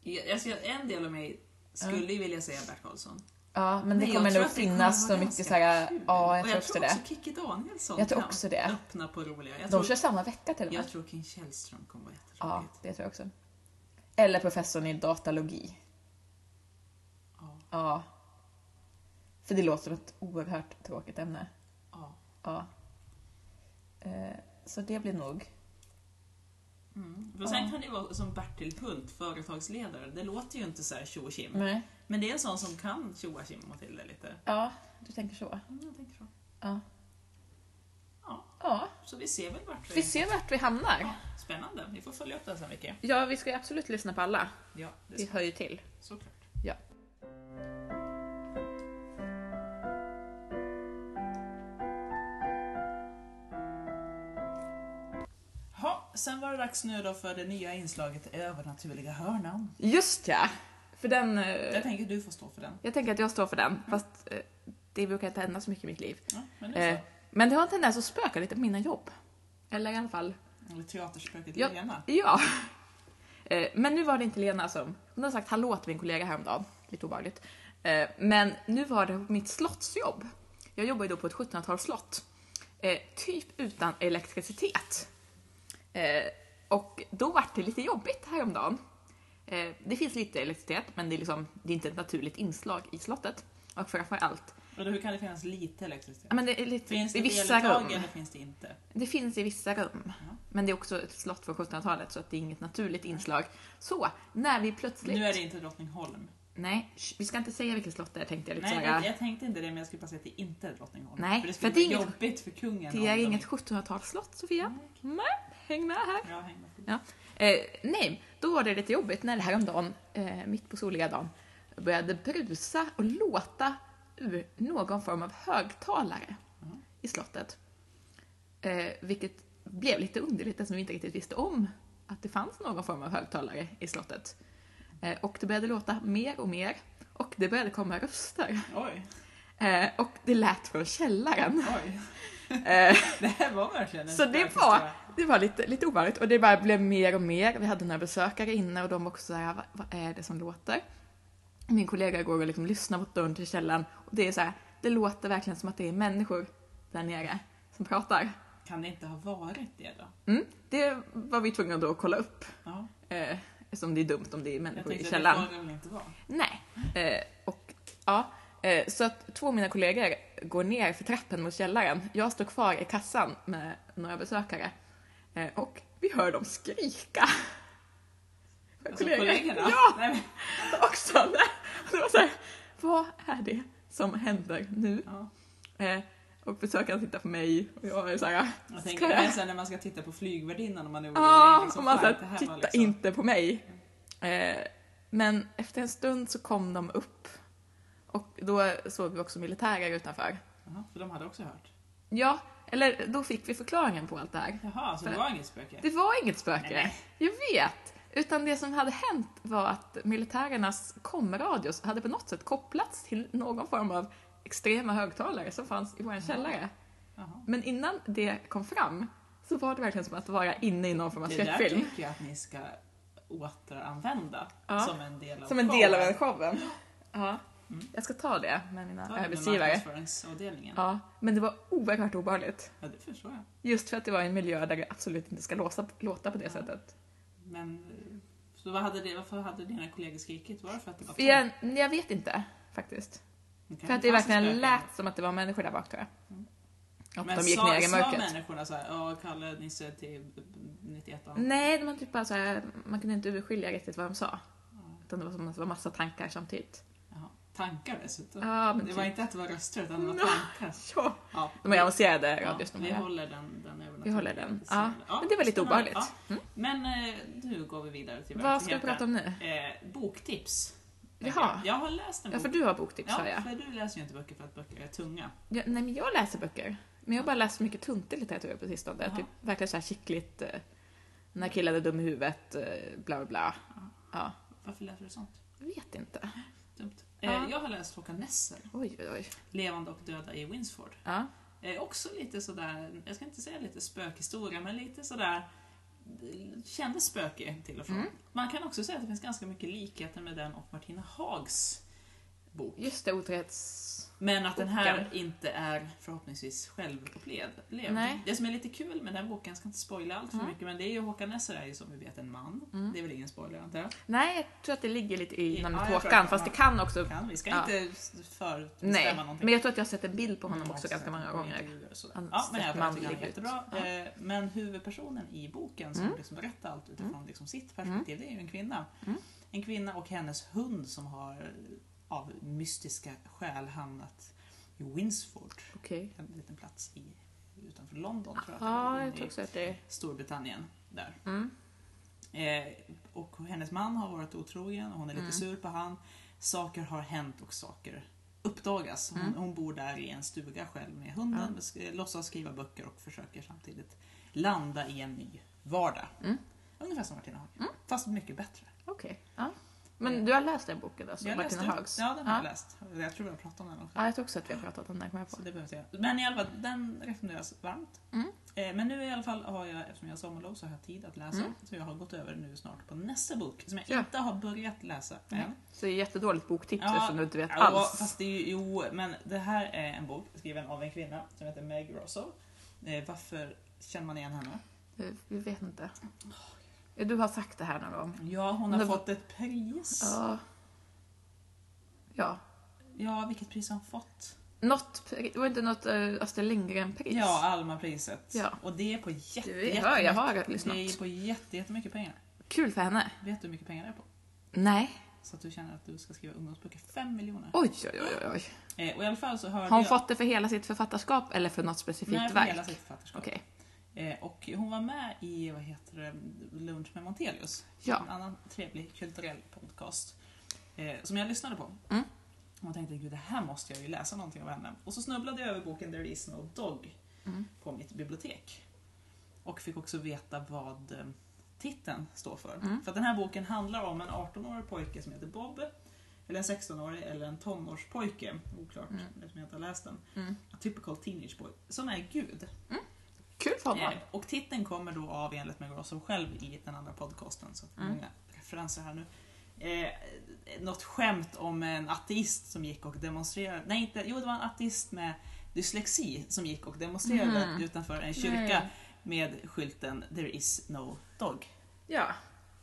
[SPEAKER 1] Jag, alltså, jag- en del av mig skulle ju vilja säga Bert Karlsson.
[SPEAKER 2] Ja, men det
[SPEAKER 1] Nej, jag
[SPEAKER 2] kommer
[SPEAKER 1] tror
[SPEAKER 2] nog
[SPEAKER 1] att det kommer
[SPEAKER 2] finnas så
[SPEAKER 1] vara
[SPEAKER 2] mycket
[SPEAKER 1] ganska
[SPEAKER 2] såhär...
[SPEAKER 1] kul.
[SPEAKER 2] Ja, jag
[SPEAKER 1] Och
[SPEAKER 2] tror också det.
[SPEAKER 1] också Kikki Danielsson
[SPEAKER 2] Jag tror
[SPEAKER 1] kan
[SPEAKER 2] också det.
[SPEAKER 1] öppna på roliga. Jag
[SPEAKER 2] De
[SPEAKER 1] tror,
[SPEAKER 2] kör samma vecka till och med.
[SPEAKER 1] jag tror Kim Källström kommer vara
[SPEAKER 2] Ja,
[SPEAKER 1] jättetråkigt.
[SPEAKER 2] det tror jag också. Eller professorn i datalogi.
[SPEAKER 1] Ja.
[SPEAKER 2] Ja. För det låter som ett oerhört tråkigt ämne.
[SPEAKER 1] Ja.
[SPEAKER 2] Ja. Eh, så det blir nog...
[SPEAKER 1] Mm. Och sen
[SPEAKER 2] Ja.
[SPEAKER 1] kan det ju vara som Bertil Hult, företagsledare. Det låter ju inte så här tjo och tjim.
[SPEAKER 2] Nej.
[SPEAKER 1] Men det är en sån som kan tjoa tjimma till det lite.
[SPEAKER 2] Ja, du tänker så.
[SPEAKER 1] Mm, jag tänker så.
[SPEAKER 2] Ja.
[SPEAKER 1] Ja,
[SPEAKER 2] Ja,
[SPEAKER 1] så vi ser väl vart
[SPEAKER 2] vi ser vart vi hamnar.
[SPEAKER 1] Ja, spännande. Vi får följa upp det här sen Vicky.
[SPEAKER 2] Ja, vi ska ju absolut lyssna på alla.
[SPEAKER 1] Ja, det
[SPEAKER 2] Vi
[SPEAKER 1] ska,
[SPEAKER 2] hör ju till.
[SPEAKER 1] såklart.
[SPEAKER 2] Ja.
[SPEAKER 1] Ja, sen var det dags nu då för det nya inslaget Övernaturliga hörnan.
[SPEAKER 2] Just ja! För den... eh,
[SPEAKER 1] Jag tänker du får stå för den.
[SPEAKER 2] Jag tänker att jag står för den, fast eh, det brukar inte hända så mycket i mitt liv.
[SPEAKER 1] Ja, men det är
[SPEAKER 2] Eh, men det har en tendens att spöka lite på mina jobb. Eller i alla fall
[SPEAKER 1] så. Eller teaterspöket
[SPEAKER 2] Ja.
[SPEAKER 1] Lena.
[SPEAKER 2] Ja. Eh, Men nu var det inte Lena som... Hon har sagt hallå till min kollega häromdagen. Lite obehagligt. Eh, Men nu var det mitt slottsjobb. Jag jobbar ju då på ett 1700-talsslott. eh, Typ utan elektricitet. Eh, Och då var det lite jobbigt häromdagen. Eh, Det finns lite elektricitet, men det är, liksom, det är inte ett naturligt inslag i slottet. Och framförallt,
[SPEAKER 1] Och då, hur kan det finnas lite elektricitet?
[SPEAKER 2] ja, men det är lite,
[SPEAKER 1] Finns det
[SPEAKER 2] i vissa
[SPEAKER 1] eluttag
[SPEAKER 2] rum.
[SPEAKER 1] eller finns det inte?
[SPEAKER 2] Det finns i vissa rum.
[SPEAKER 1] Ja.
[SPEAKER 2] Men det är också ett slott från 1700-talet så att det är inget naturligt inslag. Så, när vi plötsligt...
[SPEAKER 1] Nu är det inte Drottningholm.
[SPEAKER 2] Nej, sh, vi ska inte säga vilket slott det är tänkte jag. Lite
[SPEAKER 1] Nej,
[SPEAKER 2] såhär,
[SPEAKER 1] jag, jag tänkte inte det, men jag skulle bara säga att det inte är Drottningholm.
[SPEAKER 2] Nej,
[SPEAKER 1] för det
[SPEAKER 2] för
[SPEAKER 1] skulle
[SPEAKER 2] det är
[SPEAKER 1] vara
[SPEAKER 2] inget-
[SPEAKER 1] jobbigt för kungen.
[SPEAKER 2] det är
[SPEAKER 1] om de
[SPEAKER 2] inget 1700-talsslott, Sofia.
[SPEAKER 1] Mm.
[SPEAKER 2] Nej, häng med här.
[SPEAKER 1] Ja, häng med på.
[SPEAKER 2] Ja. Eh, nej, då var det lite jobbigt när det här om dagen, eh, mitt på soliga dagen, började brusa och låta ur någon form av högtalare i slottet. Eh, vilket blev lite underligt eftersom vi inte riktigt visste om att det fanns någon form av högtalare i slottet. Eh, och det började låta mer och mer och det började komma röster.
[SPEAKER 1] Oj,
[SPEAKER 2] Eh, och det lät från källaren.
[SPEAKER 1] oj.
[SPEAKER 2] Eh,
[SPEAKER 1] Det här var verkligen en
[SPEAKER 2] Så det
[SPEAKER 1] stark
[SPEAKER 2] var-
[SPEAKER 1] historia.
[SPEAKER 2] det var lite, lite ovanligt och det bara blev mer och mer. Vi hade några besökare inne och de var också såhär, vad, vad är det som låter? Min kollega går och liksom lyssnar mot dörren till källaren och det är så här, det låter verkligen som att det är människor där nere som pratar.
[SPEAKER 1] Kan det inte ha varit det då?
[SPEAKER 2] Mm, det var vi tvungna då att kolla upp.
[SPEAKER 1] Ja,
[SPEAKER 2] Eh, eftersom det är dumt om det är
[SPEAKER 1] jag
[SPEAKER 2] människor i
[SPEAKER 1] tänkte att
[SPEAKER 2] källaren.
[SPEAKER 1] det får det väl inte vara.
[SPEAKER 2] Nej. Eh, och, ja. eh, så att två av mina kollegor går ner för trappen mot källaren. Jag står kvar i kassan med några besökare. Eh, och vi hör dem skrika.
[SPEAKER 1] Alltså
[SPEAKER 2] Kollegor.
[SPEAKER 1] kollegorna?
[SPEAKER 2] Ja!
[SPEAKER 1] Nej, men,
[SPEAKER 2] Också. Och Det var så här, vad är det som händer nu?
[SPEAKER 1] ja.
[SPEAKER 2] Eh, och besökaren tittar på mig och jag är så här,
[SPEAKER 1] Jag
[SPEAKER 2] ska
[SPEAKER 1] tänker
[SPEAKER 2] jag-
[SPEAKER 1] men sen när man ska titta på flygvärdinnan om man är orolig.
[SPEAKER 2] Ja,
[SPEAKER 1] liksom,
[SPEAKER 2] och man
[SPEAKER 1] fan,
[SPEAKER 2] såhär,
[SPEAKER 1] det här var
[SPEAKER 2] titta
[SPEAKER 1] liksom-
[SPEAKER 2] inte på mig. Eh, men efter en stund så kom de upp. Och då såg vi också militärer utanför.
[SPEAKER 1] Jaha, för de hade också hört.
[SPEAKER 2] Ja, eller då fick vi förklaringen på allt det här.
[SPEAKER 1] Jaha, så det
[SPEAKER 2] För-
[SPEAKER 1] var inget spöke?
[SPEAKER 2] Det var inget spöke.
[SPEAKER 1] Nej.
[SPEAKER 2] Jag vet. Utan det som hade hänt var att militärernas komradios hade på något sätt kopplats till någon form av extrema högtalare som fanns i vår källare.
[SPEAKER 1] Jaha.
[SPEAKER 2] Men innan det kom fram så var det verkligen som att vara inne i någon form av
[SPEAKER 1] Det där
[SPEAKER 2] skräckfilm.
[SPEAKER 1] tycker jag att ni ska återanvända
[SPEAKER 2] Ja.
[SPEAKER 1] som en del av
[SPEAKER 2] Som en del av
[SPEAKER 1] showen.
[SPEAKER 2] den showen. Ja.
[SPEAKER 1] Mm.
[SPEAKER 2] Jag ska ta det med mina
[SPEAKER 1] Ta det med
[SPEAKER 2] arbetsgivare.
[SPEAKER 1] marknadsföringsavdelningen.
[SPEAKER 2] Ja, men det var oerhört obehagligt.
[SPEAKER 1] Ja, det förstår jag.
[SPEAKER 2] Just för att det var en miljö där det absolut inte ska låsa, låta på det
[SPEAKER 1] Ja.
[SPEAKER 2] sättet.
[SPEAKER 1] Men, eh, så vad hade det, varför hade dina kollegor skrikit? Var det för att det var
[SPEAKER 2] Jag, jag vet inte faktiskt.
[SPEAKER 1] Men kanske
[SPEAKER 2] För att det
[SPEAKER 1] fanns ett
[SPEAKER 2] verkligen
[SPEAKER 1] spöke.
[SPEAKER 2] lät som att det var människor där bak tror jag.
[SPEAKER 1] Mm.
[SPEAKER 2] Och
[SPEAKER 1] Men
[SPEAKER 2] de gick
[SPEAKER 1] sa,
[SPEAKER 2] ner i
[SPEAKER 1] Sa
[SPEAKER 2] mörkret.
[SPEAKER 1] människorna såhär, ja Kalle Nisse till 91
[SPEAKER 2] Nej, de var typ bara så här, man kunde inte urskilja riktigt vad de sa. Utan det var som att det var massa tankar samtidigt.
[SPEAKER 1] Jaha. Tankar dessutom.
[SPEAKER 2] Ja, men
[SPEAKER 1] det var
[SPEAKER 2] typ.
[SPEAKER 1] inte att det var röster utan det var
[SPEAKER 2] Nå.
[SPEAKER 1] tankar.
[SPEAKER 2] Ja.
[SPEAKER 1] Ja,
[SPEAKER 2] De är avancerade
[SPEAKER 1] ja,
[SPEAKER 2] radios de
[SPEAKER 1] vi
[SPEAKER 2] här.
[SPEAKER 1] håller den, den
[SPEAKER 2] Vi håller den. Ja. Men det var
[SPEAKER 1] spännande.
[SPEAKER 2] lite obehagligt. Mm.
[SPEAKER 1] Ja. Men eh, nu går vi vidare till
[SPEAKER 2] Vad ska vi prata om nu?
[SPEAKER 1] Eh, boktips.
[SPEAKER 2] Jaha.
[SPEAKER 1] Jag har läst en
[SPEAKER 2] Ja,
[SPEAKER 1] bok.
[SPEAKER 2] för du har boktips
[SPEAKER 1] Ja,
[SPEAKER 2] har jag.
[SPEAKER 1] för du läser ju inte böcker för att böcker är tunga.
[SPEAKER 2] Ja, nej, men jag läser böcker. Men jag har bara läst så mycket tuntig litteratur på sistone.
[SPEAKER 1] Jaha.
[SPEAKER 2] Typ verkligen så här kittligt. Eh, när killen är dum i huvudet, eh, bla bla bla. Ja,
[SPEAKER 1] Varför läser du sånt?
[SPEAKER 2] vet inte.
[SPEAKER 1] Dumt.
[SPEAKER 2] Ja.
[SPEAKER 1] Eh, jag har läst Håkan Nesser,
[SPEAKER 2] Oj, oj, oj.
[SPEAKER 1] Levande och döda i Winsford.
[SPEAKER 2] Ja.
[SPEAKER 1] Eh, också lite sådär, jag ska inte säga lite spökhistoria, men lite sådär eh, kändes spökig till och från.
[SPEAKER 2] Mm.
[SPEAKER 1] Man kan också säga att det finns ganska mycket likheter med den och Martina Hags bok.
[SPEAKER 2] Just det, otrohets...
[SPEAKER 1] Men att den här
[SPEAKER 2] Boken.
[SPEAKER 1] inte är förhoppningsvis självupplevd. levd.
[SPEAKER 2] Nej.
[SPEAKER 1] Det som är lite kul med den boken, jag ska inte spoila allt för
[SPEAKER 2] Mm.
[SPEAKER 1] mycket, men det är ju Håkan Nesser är ju som vi vet en man.
[SPEAKER 2] Mm.
[SPEAKER 1] Det är väl ingen spoiler antar jag?
[SPEAKER 2] Nej, jag tror att det ligger lite i
[SPEAKER 1] Ja,
[SPEAKER 2] namnet
[SPEAKER 1] jag tror
[SPEAKER 2] Håkan.
[SPEAKER 1] att-
[SPEAKER 2] Fast det kan också...
[SPEAKER 1] Kan. Vi ska
[SPEAKER 2] Ja.
[SPEAKER 1] inte s- förutbestämma
[SPEAKER 2] Nej,
[SPEAKER 1] någonting.
[SPEAKER 2] men jag tror att jag har sett en bild på honom
[SPEAKER 1] Mm,
[SPEAKER 2] också ganska
[SPEAKER 1] sett
[SPEAKER 2] många
[SPEAKER 1] på
[SPEAKER 2] gånger.
[SPEAKER 1] intervjuer och sådär.
[SPEAKER 2] Han
[SPEAKER 1] Ja, men
[SPEAKER 2] ser
[SPEAKER 1] jag tycker han är
[SPEAKER 2] manlig ut.
[SPEAKER 1] jättebra.
[SPEAKER 2] Ja.
[SPEAKER 1] Eh, Men huvudpersonen i boken som
[SPEAKER 2] Mm.
[SPEAKER 1] liksom berättar allt utifrån liksom sitt perspektiv, det är ju en kvinna.
[SPEAKER 2] Mm.
[SPEAKER 1] En kvinna och hennes hund som har eh, av mystiska skäl hamnat i Winsford,
[SPEAKER 2] Okej.
[SPEAKER 1] en liten plats i, utanför London tror jag att
[SPEAKER 2] Ja,
[SPEAKER 1] det var,
[SPEAKER 2] Ah, jag
[SPEAKER 1] inne
[SPEAKER 2] tror
[SPEAKER 1] i
[SPEAKER 2] också att det är...
[SPEAKER 1] Storbritannien. Där.
[SPEAKER 2] Mm.
[SPEAKER 1] Eh, och hennes man har varit otrogen och hon är lite
[SPEAKER 2] Mm.
[SPEAKER 1] sur på han. Saker har hänt och saker uppdagas. Hon,
[SPEAKER 2] Mm.
[SPEAKER 1] hon bor där i en stuga själv med hunden,
[SPEAKER 2] Ja.
[SPEAKER 1] sk- låtsas skriva böcker och försöker samtidigt landa i en ny vardag.
[SPEAKER 2] Mm.
[SPEAKER 1] Ungefär som Martina Hagen, fast mycket bättre.
[SPEAKER 2] Okej. Ja. Men du har läst den boken alltså?
[SPEAKER 1] Eh. Jag läste
[SPEAKER 2] Martina
[SPEAKER 1] den.
[SPEAKER 2] Hags?
[SPEAKER 1] Ja, den har jag läst. Jag tror vi har pratat om den också.
[SPEAKER 2] Ja, jag tror också att vi har pratat om den, kommer jag på.
[SPEAKER 1] Så det behöver inte jag. Men i alla fall, den rekommenderas varmt.
[SPEAKER 2] Mm.
[SPEAKER 1] Eh, Men nu i alla fall har jag, eftersom jag har sommarlov så har jag tid att läsa.
[SPEAKER 2] Mm.
[SPEAKER 1] Så jag har gått över nu snart på nästa bok som jag
[SPEAKER 2] Ja.
[SPEAKER 1] inte har börjat läsa än.
[SPEAKER 2] Nej. Så det är jättedåligt boktips
[SPEAKER 1] Ja,
[SPEAKER 2] eftersom du inte vet
[SPEAKER 1] Ja,
[SPEAKER 2] alls.
[SPEAKER 1] fast det är ju, jo, men det här är en bok skriven av en kvinna som heter Meg Rosso. Eh, varför känner man igen henne?
[SPEAKER 2] Vi- Eh, Vi vet inte. Eh, Du har sagt det här någon gång.
[SPEAKER 1] Ja, hon har
[SPEAKER 2] Men-
[SPEAKER 1] fått ett pris. Ja.
[SPEAKER 2] Ja. Ja.
[SPEAKER 1] vilket pris har hon fått?
[SPEAKER 2] Något, pri- det var inte något uh, Astrid Lindgren-pris?
[SPEAKER 1] Ja, Alma-priset.
[SPEAKER 2] Ja.
[SPEAKER 1] Och det är på jätte,
[SPEAKER 2] Vi hör, jag har
[SPEAKER 1] jättemycket- Det är
[SPEAKER 2] lyssnat.
[SPEAKER 1] på jätte, jättemycket pengar.
[SPEAKER 2] Kul för henne.
[SPEAKER 1] Vet du hur mycket pengar det är på?
[SPEAKER 2] Nej.
[SPEAKER 1] Så att du känner att du ska skriva ungdomsböcker. Fem miljoner.
[SPEAKER 2] Oj, oj, oj, oj, oj.
[SPEAKER 1] Eh, och i alla fall så hörde
[SPEAKER 2] Har hon
[SPEAKER 1] jag...
[SPEAKER 2] fått det för hela sitt författarskap eller för något specifikt
[SPEAKER 1] Nej, för
[SPEAKER 2] verk?
[SPEAKER 1] hela sitt författarskap.
[SPEAKER 2] Okej.
[SPEAKER 1] Eh, och hon var med i, vad heter det, Lunch med Montelius.
[SPEAKER 2] Ja.
[SPEAKER 1] En annan trevlig kulturell podcast. Eh, som jag lyssnade på.
[SPEAKER 2] Mm.
[SPEAKER 1] Och jag tänkte, gud det här måste jag ju läsa någonting av henne. Och så snubblade jag över boken There is no dog
[SPEAKER 2] Mm.
[SPEAKER 1] på mitt bibliotek. Och fick också veta vad eh, titeln står för.
[SPEAKER 2] Mm.
[SPEAKER 1] För att den här boken handlar om en 18-årig pojke som heter Bob. Eller en 16-årig eller en tonårspojke. Oklart
[SPEAKER 2] Mm.
[SPEAKER 1] eftersom jag inte har läst den.
[SPEAKER 2] Mm.
[SPEAKER 1] A typical teenage boy. Som är gud.
[SPEAKER 2] Kul för honom.
[SPEAKER 1] Eh, Och titeln kommer då av, enligt mig Grosso själv i den andra podcasten, så att det är
[SPEAKER 2] Mm.
[SPEAKER 1] många referenser här nu. Eh, något skämt om en ateist som gick och demonstrerade, nej inte, jo det var en ateist med dyslexi som gick och demonstrerade
[SPEAKER 2] Mhm.
[SPEAKER 1] utanför en kyrka med skylten “There is no dog”.
[SPEAKER 2] Ja,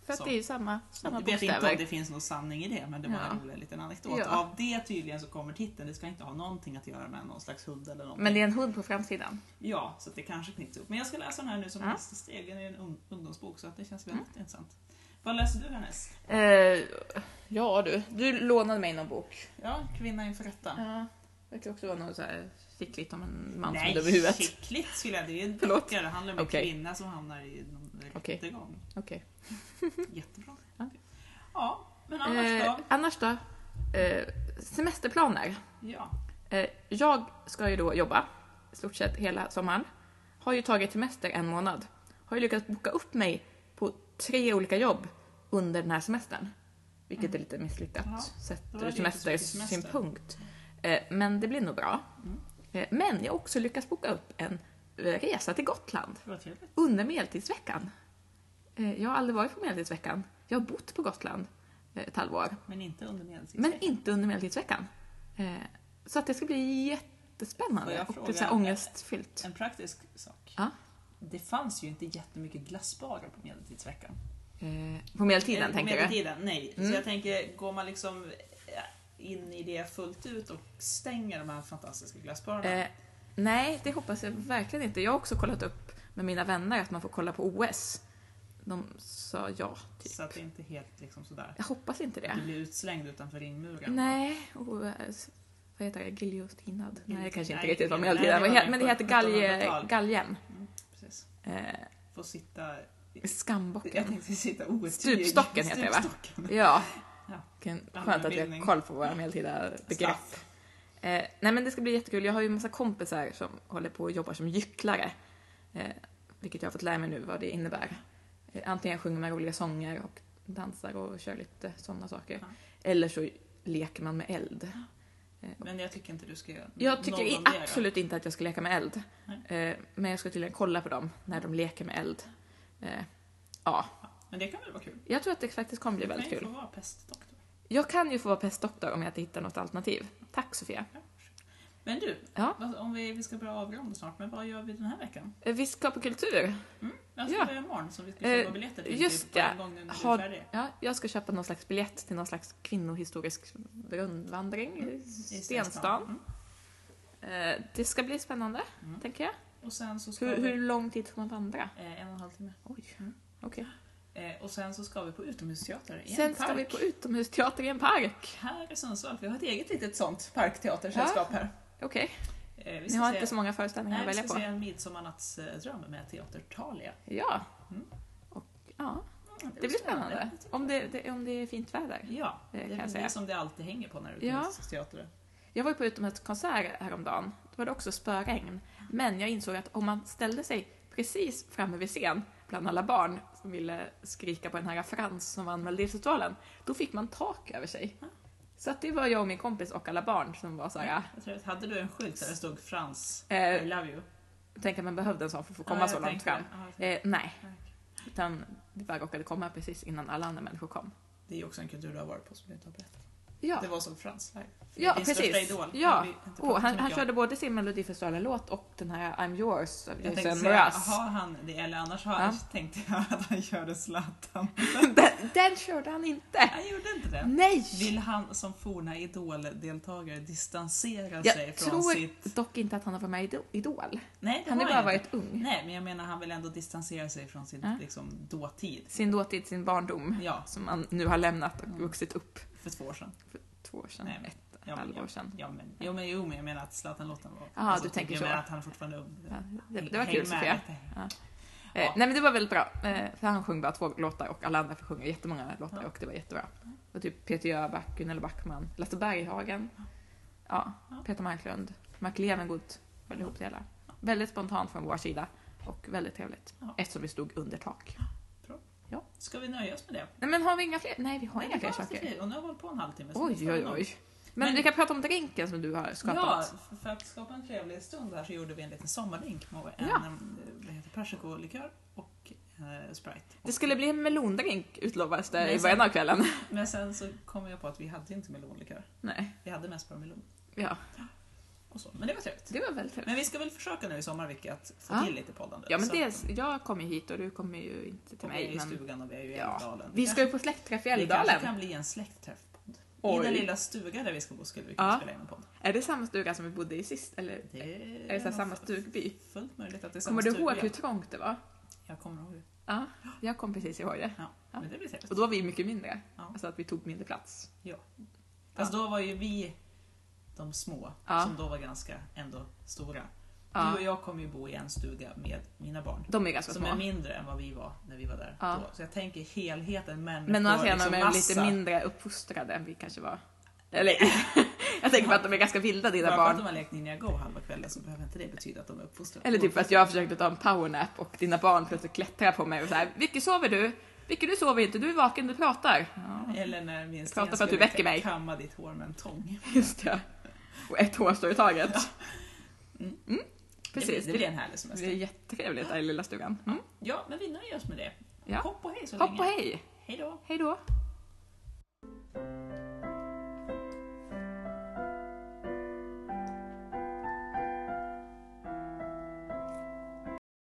[SPEAKER 2] för att
[SPEAKER 1] Så.
[SPEAKER 2] det är ju samma, samma
[SPEAKER 1] Jag vet inte om det
[SPEAKER 2] bokstäver.
[SPEAKER 1] finns någon sanning i det, men det var
[SPEAKER 2] Ja.
[SPEAKER 1] en rolig liten anekdot.
[SPEAKER 2] Ja.
[SPEAKER 1] Av det tydligen så kommer titeln, det ska inte ha någonting att göra med någon slags hund eller någonting.
[SPEAKER 2] Men det är en hund på framsidan.
[SPEAKER 1] Ja, så att det kanske knyts ihop. Men jag ska läsa den här nu som
[SPEAKER 2] Ja. Mm.
[SPEAKER 1] nästa steg. Den är en ung- ungdomsbok så att det känns väldigt intressant. Vad läser du härnäst?
[SPEAKER 2] Eh, ja du, du lånade mig någon bok.
[SPEAKER 1] Ja, Kvinna inför rätta.
[SPEAKER 2] Ja. Verkar också vara något så här skickligt om en man som är
[SPEAKER 1] Nej,
[SPEAKER 2] dum i huvudet. Okej.
[SPEAKER 1] skickligt skulle jag Det är en
[SPEAKER 2] Förlåt.
[SPEAKER 1] deckare. Det handlar om en
[SPEAKER 2] Okej.
[SPEAKER 1] kvinna som hamnar i någon
[SPEAKER 2] Okej.
[SPEAKER 1] rättegång. Jättebra. Ja, men annars
[SPEAKER 2] Eh,
[SPEAKER 1] då?
[SPEAKER 2] annars då? Eh, semesterplaner.
[SPEAKER 1] Ja.
[SPEAKER 2] Eh, jag ska ju då jobba i stort sett hela sommaren. Har ju tagit semester en månad. Har ju lyckats boka upp mig på tre olika jobb under den här semestern. Vilket är lite misslyckat
[SPEAKER 1] Mm. Ja,
[SPEAKER 2] sett
[SPEAKER 1] det var
[SPEAKER 2] ur
[SPEAKER 1] lite så mycket
[SPEAKER 2] semestersynpunkt. Eh, men det blir nog bra.
[SPEAKER 1] Mm.
[SPEAKER 2] Eh, men jag har också lyckats boka upp en eh, resa till Gotland
[SPEAKER 1] Det var trevligt.
[SPEAKER 2] under Medeltidsveckan. Eh, jag har aldrig varit på Medeltidsveckan. Jag har bott på Gotland eh, ett halvår.
[SPEAKER 1] Men inte under medeltidsveckan.
[SPEAKER 2] Men inte under medeltidsveckan. Eh, så att det ska bli
[SPEAKER 1] Får
[SPEAKER 2] jättespännande
[SPEAKER 1] jag
[SPEAKER 2] och
[SPEAKER 1] fråga-
[SPEAKER 2] så här ångestfyllt.
[SPEAKER 1] En praktisk sak.
[SPEAKER 2] Ja.
[SPEAKER 1] Det fanns ju inte jättemycket glassbarer på medeltidsveckan.
[SPEAKER 2] Eh, på medeltiden
[SPEAKER 1] Eh,
[SPEAKER 2] tänker du?
[SPEAKER 1] medeltiden, nej.
[SPEAKER 2] Mm.
[SPEAKER 1] Så jag tänker, går man liksom eh, in i det fullt ut och stänger de här fantastiska glassbarerna?
[SPEAKER 2] Eh, nej, det hoppas jag verkligen inte. Jag har också kollat upp med mina vänner att man får kolla på OS. De sa ja, typ.
[SPEAKER 1] Så att det inte är helt liksom sådär.
[SPEAKER 2] Jag hoppas inte
[SPEAKER 1] Du
[SPEAKER 2] det.
[SPEAKER 1] blir utslängd utanför ringmuren.
[SPEAKER 2] Nej, OS. Vad heter det? Giljotinad? Nej, det kanske inte
[SPEAKER 1] Nej,
[SPEAKER 2] riktigt var
[SPEAKER 1] nej, det
[SPEAKER 2] medeltiden.
[SPEAKER 1] var
[SPEAKER 2] Vad heter- Men det
[SPEAKER 1] på
[SPEAKER 2] heter galge,
[SPEAKER 1] 1700-tal.
[SPEAKER 2] galgen.
[SPEAKER 1] Mm, precis.
[SPEAKER 2] Eh,
[SPEAKER 1] Får sitta... Jag
[SPEAKER 2] skambocken.
[SPEAKER 1] tänkte sitta outtyg.
[SPEAKER 2] Stupstocken heter det, va?
[SPEAKER 1] Stupstocken.
[SPEAKER 2] Ja.
[SPEAKER 1] Ja.
[SPEAKER 2] Vilken- Skönt att vi
[SPEAKER 1] Allmänbildning.
[SPEAKER 2] har koll på våra medeltida begrepp.
[SPEAKER 1] Staff.
[SPEAKER 2] Eh, nej men det ska bli jättekul. Jag har ju en massa kompisar som håller på och jobbar som gycklare. Eh, vilket jag har fått lära mig nu vad det innebär. Eh, antingen sjunger man roliga sånger och dansar och kör lite sådana saker.
[SPEAKER 1] Ja.
[SPEAKER 2] Eller så leker man med eld.
[SPEAKER 1] Men jag tycker inte du ska göra
[SPEAKER 2] Jag tycker
[SPEAKER 1] någon
[SPEAKER 2] i,
[SPEAKER 1] av det, då.
[SPEAKER 2] absolut inte att jag ska leka med eld. Eh, men jag ska tydligen kolla på dem när de leker med eld. Eh, ja,
[SPEAKER 1] Men det kan väl vara kul?
[SPEAKER 2] jag tror att det faktiskt kommer bli väldigt
[SPEAKER 1] kan ju
[SPEAKER 2] kul.
[SPEAKER 1] få vara pestdoktor.
[SPEAKER 2] Jag kan ju få vara pestdoktor om jag inte hittar något alternativ. Tack Sofia.
[SPEAKER 1] Men du,
[SPEAKER 2] Ja.
[SPEAKER 1] vad- om vi, vi ska börja avrunda snart, men vad gör vi den här veckan?
[SPEAKER 2] Eh, vi ska på kultur.
[SPEAKER 1] Jag ska
[SPEAKER 2] Ja.
[SPEAKER 1] börja imorgon som vi ska
[SPEAKER 2] Eh,
[SPEAKER 1] köpa biljetter till.
[SPEAKER 2] just
[SPEAKER 1] typ på
[SPEAKER 2] det.
[SPEAKER 1] en gång nu när
[SPEAKER 2] Har-
[SPEAKER 1] du är färdig.
[SPEAKER 2] Ja, jag ska köpa någon slags biljett till någon slags kvinnohistorisk rundvandring i
[SPEAKER 1] Mm. I
[SPEAKER 2] Stenstan.
[SPEAKER 1] Mm.
[SPEAKER 2] Eh, Det ska bli spännande,
[SPEAKER 1] Mm.
[SPEAKER 2] tänker jag.
[SPEAKER 1] Och sen så ska
[SPEAKER 2] Hur,
[SPEAKER 1] vi...
[SPEAKER 2] hur lång tid får man vandra?
[SPEAKER 1] Eh, en och en halv timme.
[SPEAKER 2] Oj, okej.
[SPEAKER 1] Eh, och sen så ska vi på utomhusteater i en
[SPEAKER 2] Sen
[SPEAKER 1] park.
[SPEAKER 2] ska vi på utomhusteater i en park.
[SPEAKER 1] Här i Sundsvall, vi har ett eget litet sånt parkteatersällskap här.
[SPEAKER 2] Okej,
[SPEAKER 1] Eh, vi
[SPEAKER 2] ni
[SPEAKER 1] ska
[SPEAKER 2] har
[SPEAKER 1] se-
[SPEAKER 2] inte så många föreställningar
[SPEAKER 1] Nej,
[SPEAKER 2] att
[SPEAKER 1] vi
[SPEAKER 2] välja
[SPEAKER 1] ska
[SPEAKER 2] på.
[SPEAKER 1] se en midsommarnattsdröm med Teater Thalia.
[SPEAKER 2] Ja.
[SPEAKER 1] Mm.
[SPEAKER 2] Och, ja,
[SPEAKER 1] Mm,
[SPEAKER 2] det blir spännande. Om det, det, om det är fint väder.
[SPEAKER 1] Ja, det
[SPEAKER 2] kan
[SPEAKER 1] är
[SPEAKER 2] jag
[SPEAKER 1] väl
[SPEAKER 2] säga.
[SPEAKER 1] det som det alltid hänger på när du
[SPEAKER 2] Ja.
[SPEAKER 1] ja. teater.
[SPEAKER 2] Jag var ju på utomhuskonsert häromdagen. Då var det också spöregn. Men jag insåg att om man ställde sig precis framme vid scen bland alla barn som ville skrika på den här Frans som vann Melodifestivalen, då fick man tak över sig.
[SPEAKER 1] Ja.
[SPEAKER 2] Så att det var jag och min kompis och alla barn som var såhär,
[SPEAKER 1] Jag tror att hade du en skylt där det stod Frans, I
[SPEAKER 2] eh,
[SPEAKER 1] love you?
[SPEAKER 2] tänk att man behövde en sån för att få komma
[SPEAKER 1] Ja, jag
[SPEAKER 2] så långt
[SPEAKER 1] tänkte
[SPEAKER 2] fram.
[SPEAKER 1] det. Ja, jag tänkte
[SPEAKER 2] Eh, nej,
[SPEAKER 1] det.
[SPEAKER 2] utan vi bara råkade komma precis innan alla andra människor kom.
[SPEAKER 1] Det är ju också en kultur du har varit på som du inte har berättat.
[SPEAKER 2] Ja,
[SPEAKER 1] Det var som Frans live.
[SPEAKER 2] ja
[SPEAKER 1] Din största
[SPEAKER 2] precis.
[SPEAKER 1] idol.
[SPEAKER 2] Ja.
[SPEAKER 1] Vi har inte pratat
[SPEAKER 2] Oh,
[SPEAKER 1] så
[SPEAKER 2] han,
[SPEAKER 1] mycket
[SPEAKER 2] han
[SPEAKER 1] om.
[SPEAKER 2] körde både sin Melodifestivalen-låt och den här I'm yours av
[SPEAKER 1] Jag tänkte
[SPEAKER 2] Jason
[SPEAKER 1] säga,
[SPEAKER 2] Mraz.
[SPEAKER 1] har han det? Eller annars har,
[SPEAKER 2] Ja.
[SPEAKER 1] tänkte jag att han körde Zlatan.
[SPEAKER 2] Den, den körde han inte!
[SPEAKER 1] Han gjorde inte det.
[SPEAKER 2] Nej!
[SPEAKER 1] Vill han som forna idoldeltagare distansera sig
[SPEAKER 2] Jag
[SPEAKER 1] från
[SPEAKER 2] tror
[SPEAKER 1] sitt...
[SPEAKER 2] dock inte att han har varit med i Ido- Idol.
[SPEAKER 1] Nej, det
[SPEAKER 2] Han har
[SPEAKER 1] har
[SPEAKER 2] ju bara
[SPEAKER 1] jag inte.
[SPEAKER 2] varit ung.
[SPEAKER 1] Nej, men jag menar han vill ändå distansera sig från sin
[SPEAKER 2] Ja.
[SPEAKER 1] liksom, dåtid.
[SPEAKER 2] Sin dåtid, sin barndom.
[SPEAKER 1] Ja,
[SPEAKER 2] Som han nu har lämnat och
[SPEAKER 1] Mm.
[SPEAKER 2] vuxit upp
[SPEAKER 1] för två år sedan.
[SPEAKER 2] två år sedan.
[SPEAKER 1] Nej, men-
[SPEAKER 2] ett
[SPEAKER 1] Ja, men-
[SPEAKER 2] halvår
[SPEAKER 1] ja,
[SPEAKER 2] sedan.
[SPEAKER 1] ja, men, jo, men, jo, men jag menar att Zlatan-låten var... alltså,
[SPEAKER 2] Ja, du tänker
[SPEAKER 1] jag
[SPEAKER 2] så.
[SPEAKER 1] menar att han är fortfarande är ung.
[SPEAKER 2] Ja, det, det var
[SPEAKER 1] Häng med
[SPEAKER 2] kul Sofia.
[SPEAKER 1] lite.
[SPEAKER 2] Eh,
[SPEAKER 1] Ja.
[SPEAKER 2] Nej men det var väldigt bra. Eh, för han sjöng bara två låtar och alla andra fick sjunga jättemånga låtar
[SPEAKER 1] Ja.
[SPEAKER 2] och det var jättebra. Och typ Peter Jöback, Gunilla Backman, Lasse Berghagen, ja,
[SPEAKER 1] Ja.
[SPEAKER 2] Peter Marklund, Mark Levengood höll ihop det hela. Väldigt spontant från vår sida. och väldigt trevligt.
[SPEAKER 1] Ja.
[SPEAKER 2] Eftersom vi stod under tak.
[SPEAKER 1] Ska vi nöja oss med det?
[SPEAKER 2] Nej men har vi inga fler? Nej vi har
[SPEAKER 1] Nej,
[SPEAKER 2] inga
[SPEAKER 1] vi
[SPEAKER 2] fler
[SPEAKER 1] har inte
[SPEAKER 2] saker.
[SPEAKER 1] fler. Och nu har vi hållit på en halvtimme. så vi
[SPEAKER 2] Oj
[SPEAKER 1] får
[SPEAKER 2] oj
[SPEAKER 1] nog-
[SPEAKER 2] oj. Alltså, Men,
[SPEAKER 1] Men-
[SPEAKER 2] vi kan prata om drinken som du har
[SPEAKER 1] Ja,
[SPEAKER 2] skapat.
[SPEAKER 1] för- för att skapa en trevlig stund här så gjorde vi en liten sommardrink med en
[SPEAKER 2] Ja.
[SPEAKER 1] eh, vad heter, persikolikör och eh, Sprite.
[SPEAKER 2] Det skulle bli en melondrink utlovades det
[SPEAKER 1] Nej,
[SPEAKER 2] i
[SPEAKER 1] så-
[SPEAKER 2] början av kvällen.
[SPEAKER 1] Men sen så kom jag på att vi hade inte melonlikör.
[SPEAKER 2] Nej.
[SPEAKER 1] Vi hade mest bara melon.
[SPEAKER 2] Ja,
[SPEAKER 1] Och så. Men det var trevligt.
[SPEAKER 2] det var väldigt trevligt.
[SPEAKER 1] Men vi ska väl försöka nu i sommar Vicky, att få
[SPEAKER 2] Ja.
[SPEAKER 1] till lite poddande.
[SPEAKER 2] Ja men
[SPEAKER 1] Så
[SPEAKER 2] dels, jag kommer ju hit och du kommer ju inte
[SPEAKER 1] att-
[SPEAKER 2] till
[SPEAKER 1] och vi är
[SPEAKER 2] mig.
[SPEAKER 1] i
[SPEAKER 2] Men
[SPEAKER 1] stugan och vi är ju i
[SPEAKER 2] Ja.
[SPEAKER 1] Älvdalen.
[SPEAKER 2] vi ska ju på släktträff
[SPEAKER 1] Det
[SPEAKER 2] i
[SPEAKER 1] kanske
[SPEAKER 2] Älvdalen.
[SPEAKER 1] kan bli en släktträffpodd. I
[SPEAKER 2] Oj.
[SPEAKER 1] den lilla stuga där vi ska bo skulle vi kunna
[SPEAKER 2] Ja.
[SPEAKER 1] spela in en podd.
[SPEAKER 2] Är det samma stuga som vi bodde i sist? Eller
[SPEAKER 1] Det
[SPEAKER 2] är det så här
[SPEAKER 1] nog
[SPEAKER 2] samma
[SPEAKER 1] fu-
[SPEAKER 2] stugby?
[SPEAKER 1] Fullt möjligt att det är samma
[SPEAKER 2] Kommer du
[SPEAKER 1] stuga.
[SPEAKER 2] ihåg hur trångt det var?
[SPEAKER 1] Jag kommer ihåg det.
[SPEAKER 2] Ja, jag kom precis ihåg det.
[SPEAKER 1] Ja.
[SPEAKER 2] Ja.
[SPEAKER 1] Men det blir trevligt.
[SPEAKER 2] Och då var vi mycket mindre.
[SPEAKER 1] Ja.
[SPEAKER 2] Alltså att vi tog mindre plats.
[SPEAKER 1] Fast då var ju vi de små,
[SPEAKER 2] Ja.
[SPEAKER 1] som då var ganska ändå stora.
[SPEAKER 2] Ja.
[SPEAKER 1] Du och jag kommer ju bo i en stuga med mina barn.
[SPEAKER 2] De är ganska
[SPEAKER 1] Som
[SPEAKER 2] små.
[SPEAKER 1] är mindre än vad vi var när vi var där
[SPEAKER 2] Ja.
[SPEAKER 1] då. Så jag tänker helheten människor,
[SPEAKER 2] Men å andra sidan de är de lite
[SPEAKER 1] liksom massa.
[SPEAKER 2] mindre uppfostrade än vi kanske var. Eller, jag tänker på att de är ganska vilda dina
[SPEAKER 1] Bara för att de
[SPEAKER 2] barn.
[SPEAKER 1] har lekt Ninja Go halva kvällen så behöver inte det betyda att de är uppfostrade.
[SPEAKER 2] Eller typ för att jag försökte ta en powernap och dina barn plötsligt klättrar på mig och så här, Vicky sover du? Vicky du sover inte, du är vaken, du pratar. Ja,
[SPEAKER 1] Eller när min
[SPEAKER 2] Prata
[SPEAKER 1] sten
[SPEAKER 2] för att du
[SPEAKER 1] skulle
[SPEAKER 2] väcker mig.
[SPEAKER 1] kamma ditt hår med en tång.
[SPEAKER 2] just det. Och ett hårstrå i taget. Mm. Precis,
[SPEAKER 1] Det blir, det blir
[SPEAKER 2] det
[SPEAKER 1] en härlig
[SPEAKER 2] det är
[SPEAKER 1] semester.
[SPEAKER 2] jättetrevligt där i lilla stugan. Mm.
[SPEAKER 1] Ja, men vi nöjer oss med det.
[SPEAKER 2] Ja.
[SPEAKER 1] Hopp och hej så
[SPEAKER 2] Hopp
[SPEAKER 1] länge.
[SPEAKER 2] och hej!
[SPEAKER 1] Hej då.
[SPEAKER 2] Hej då!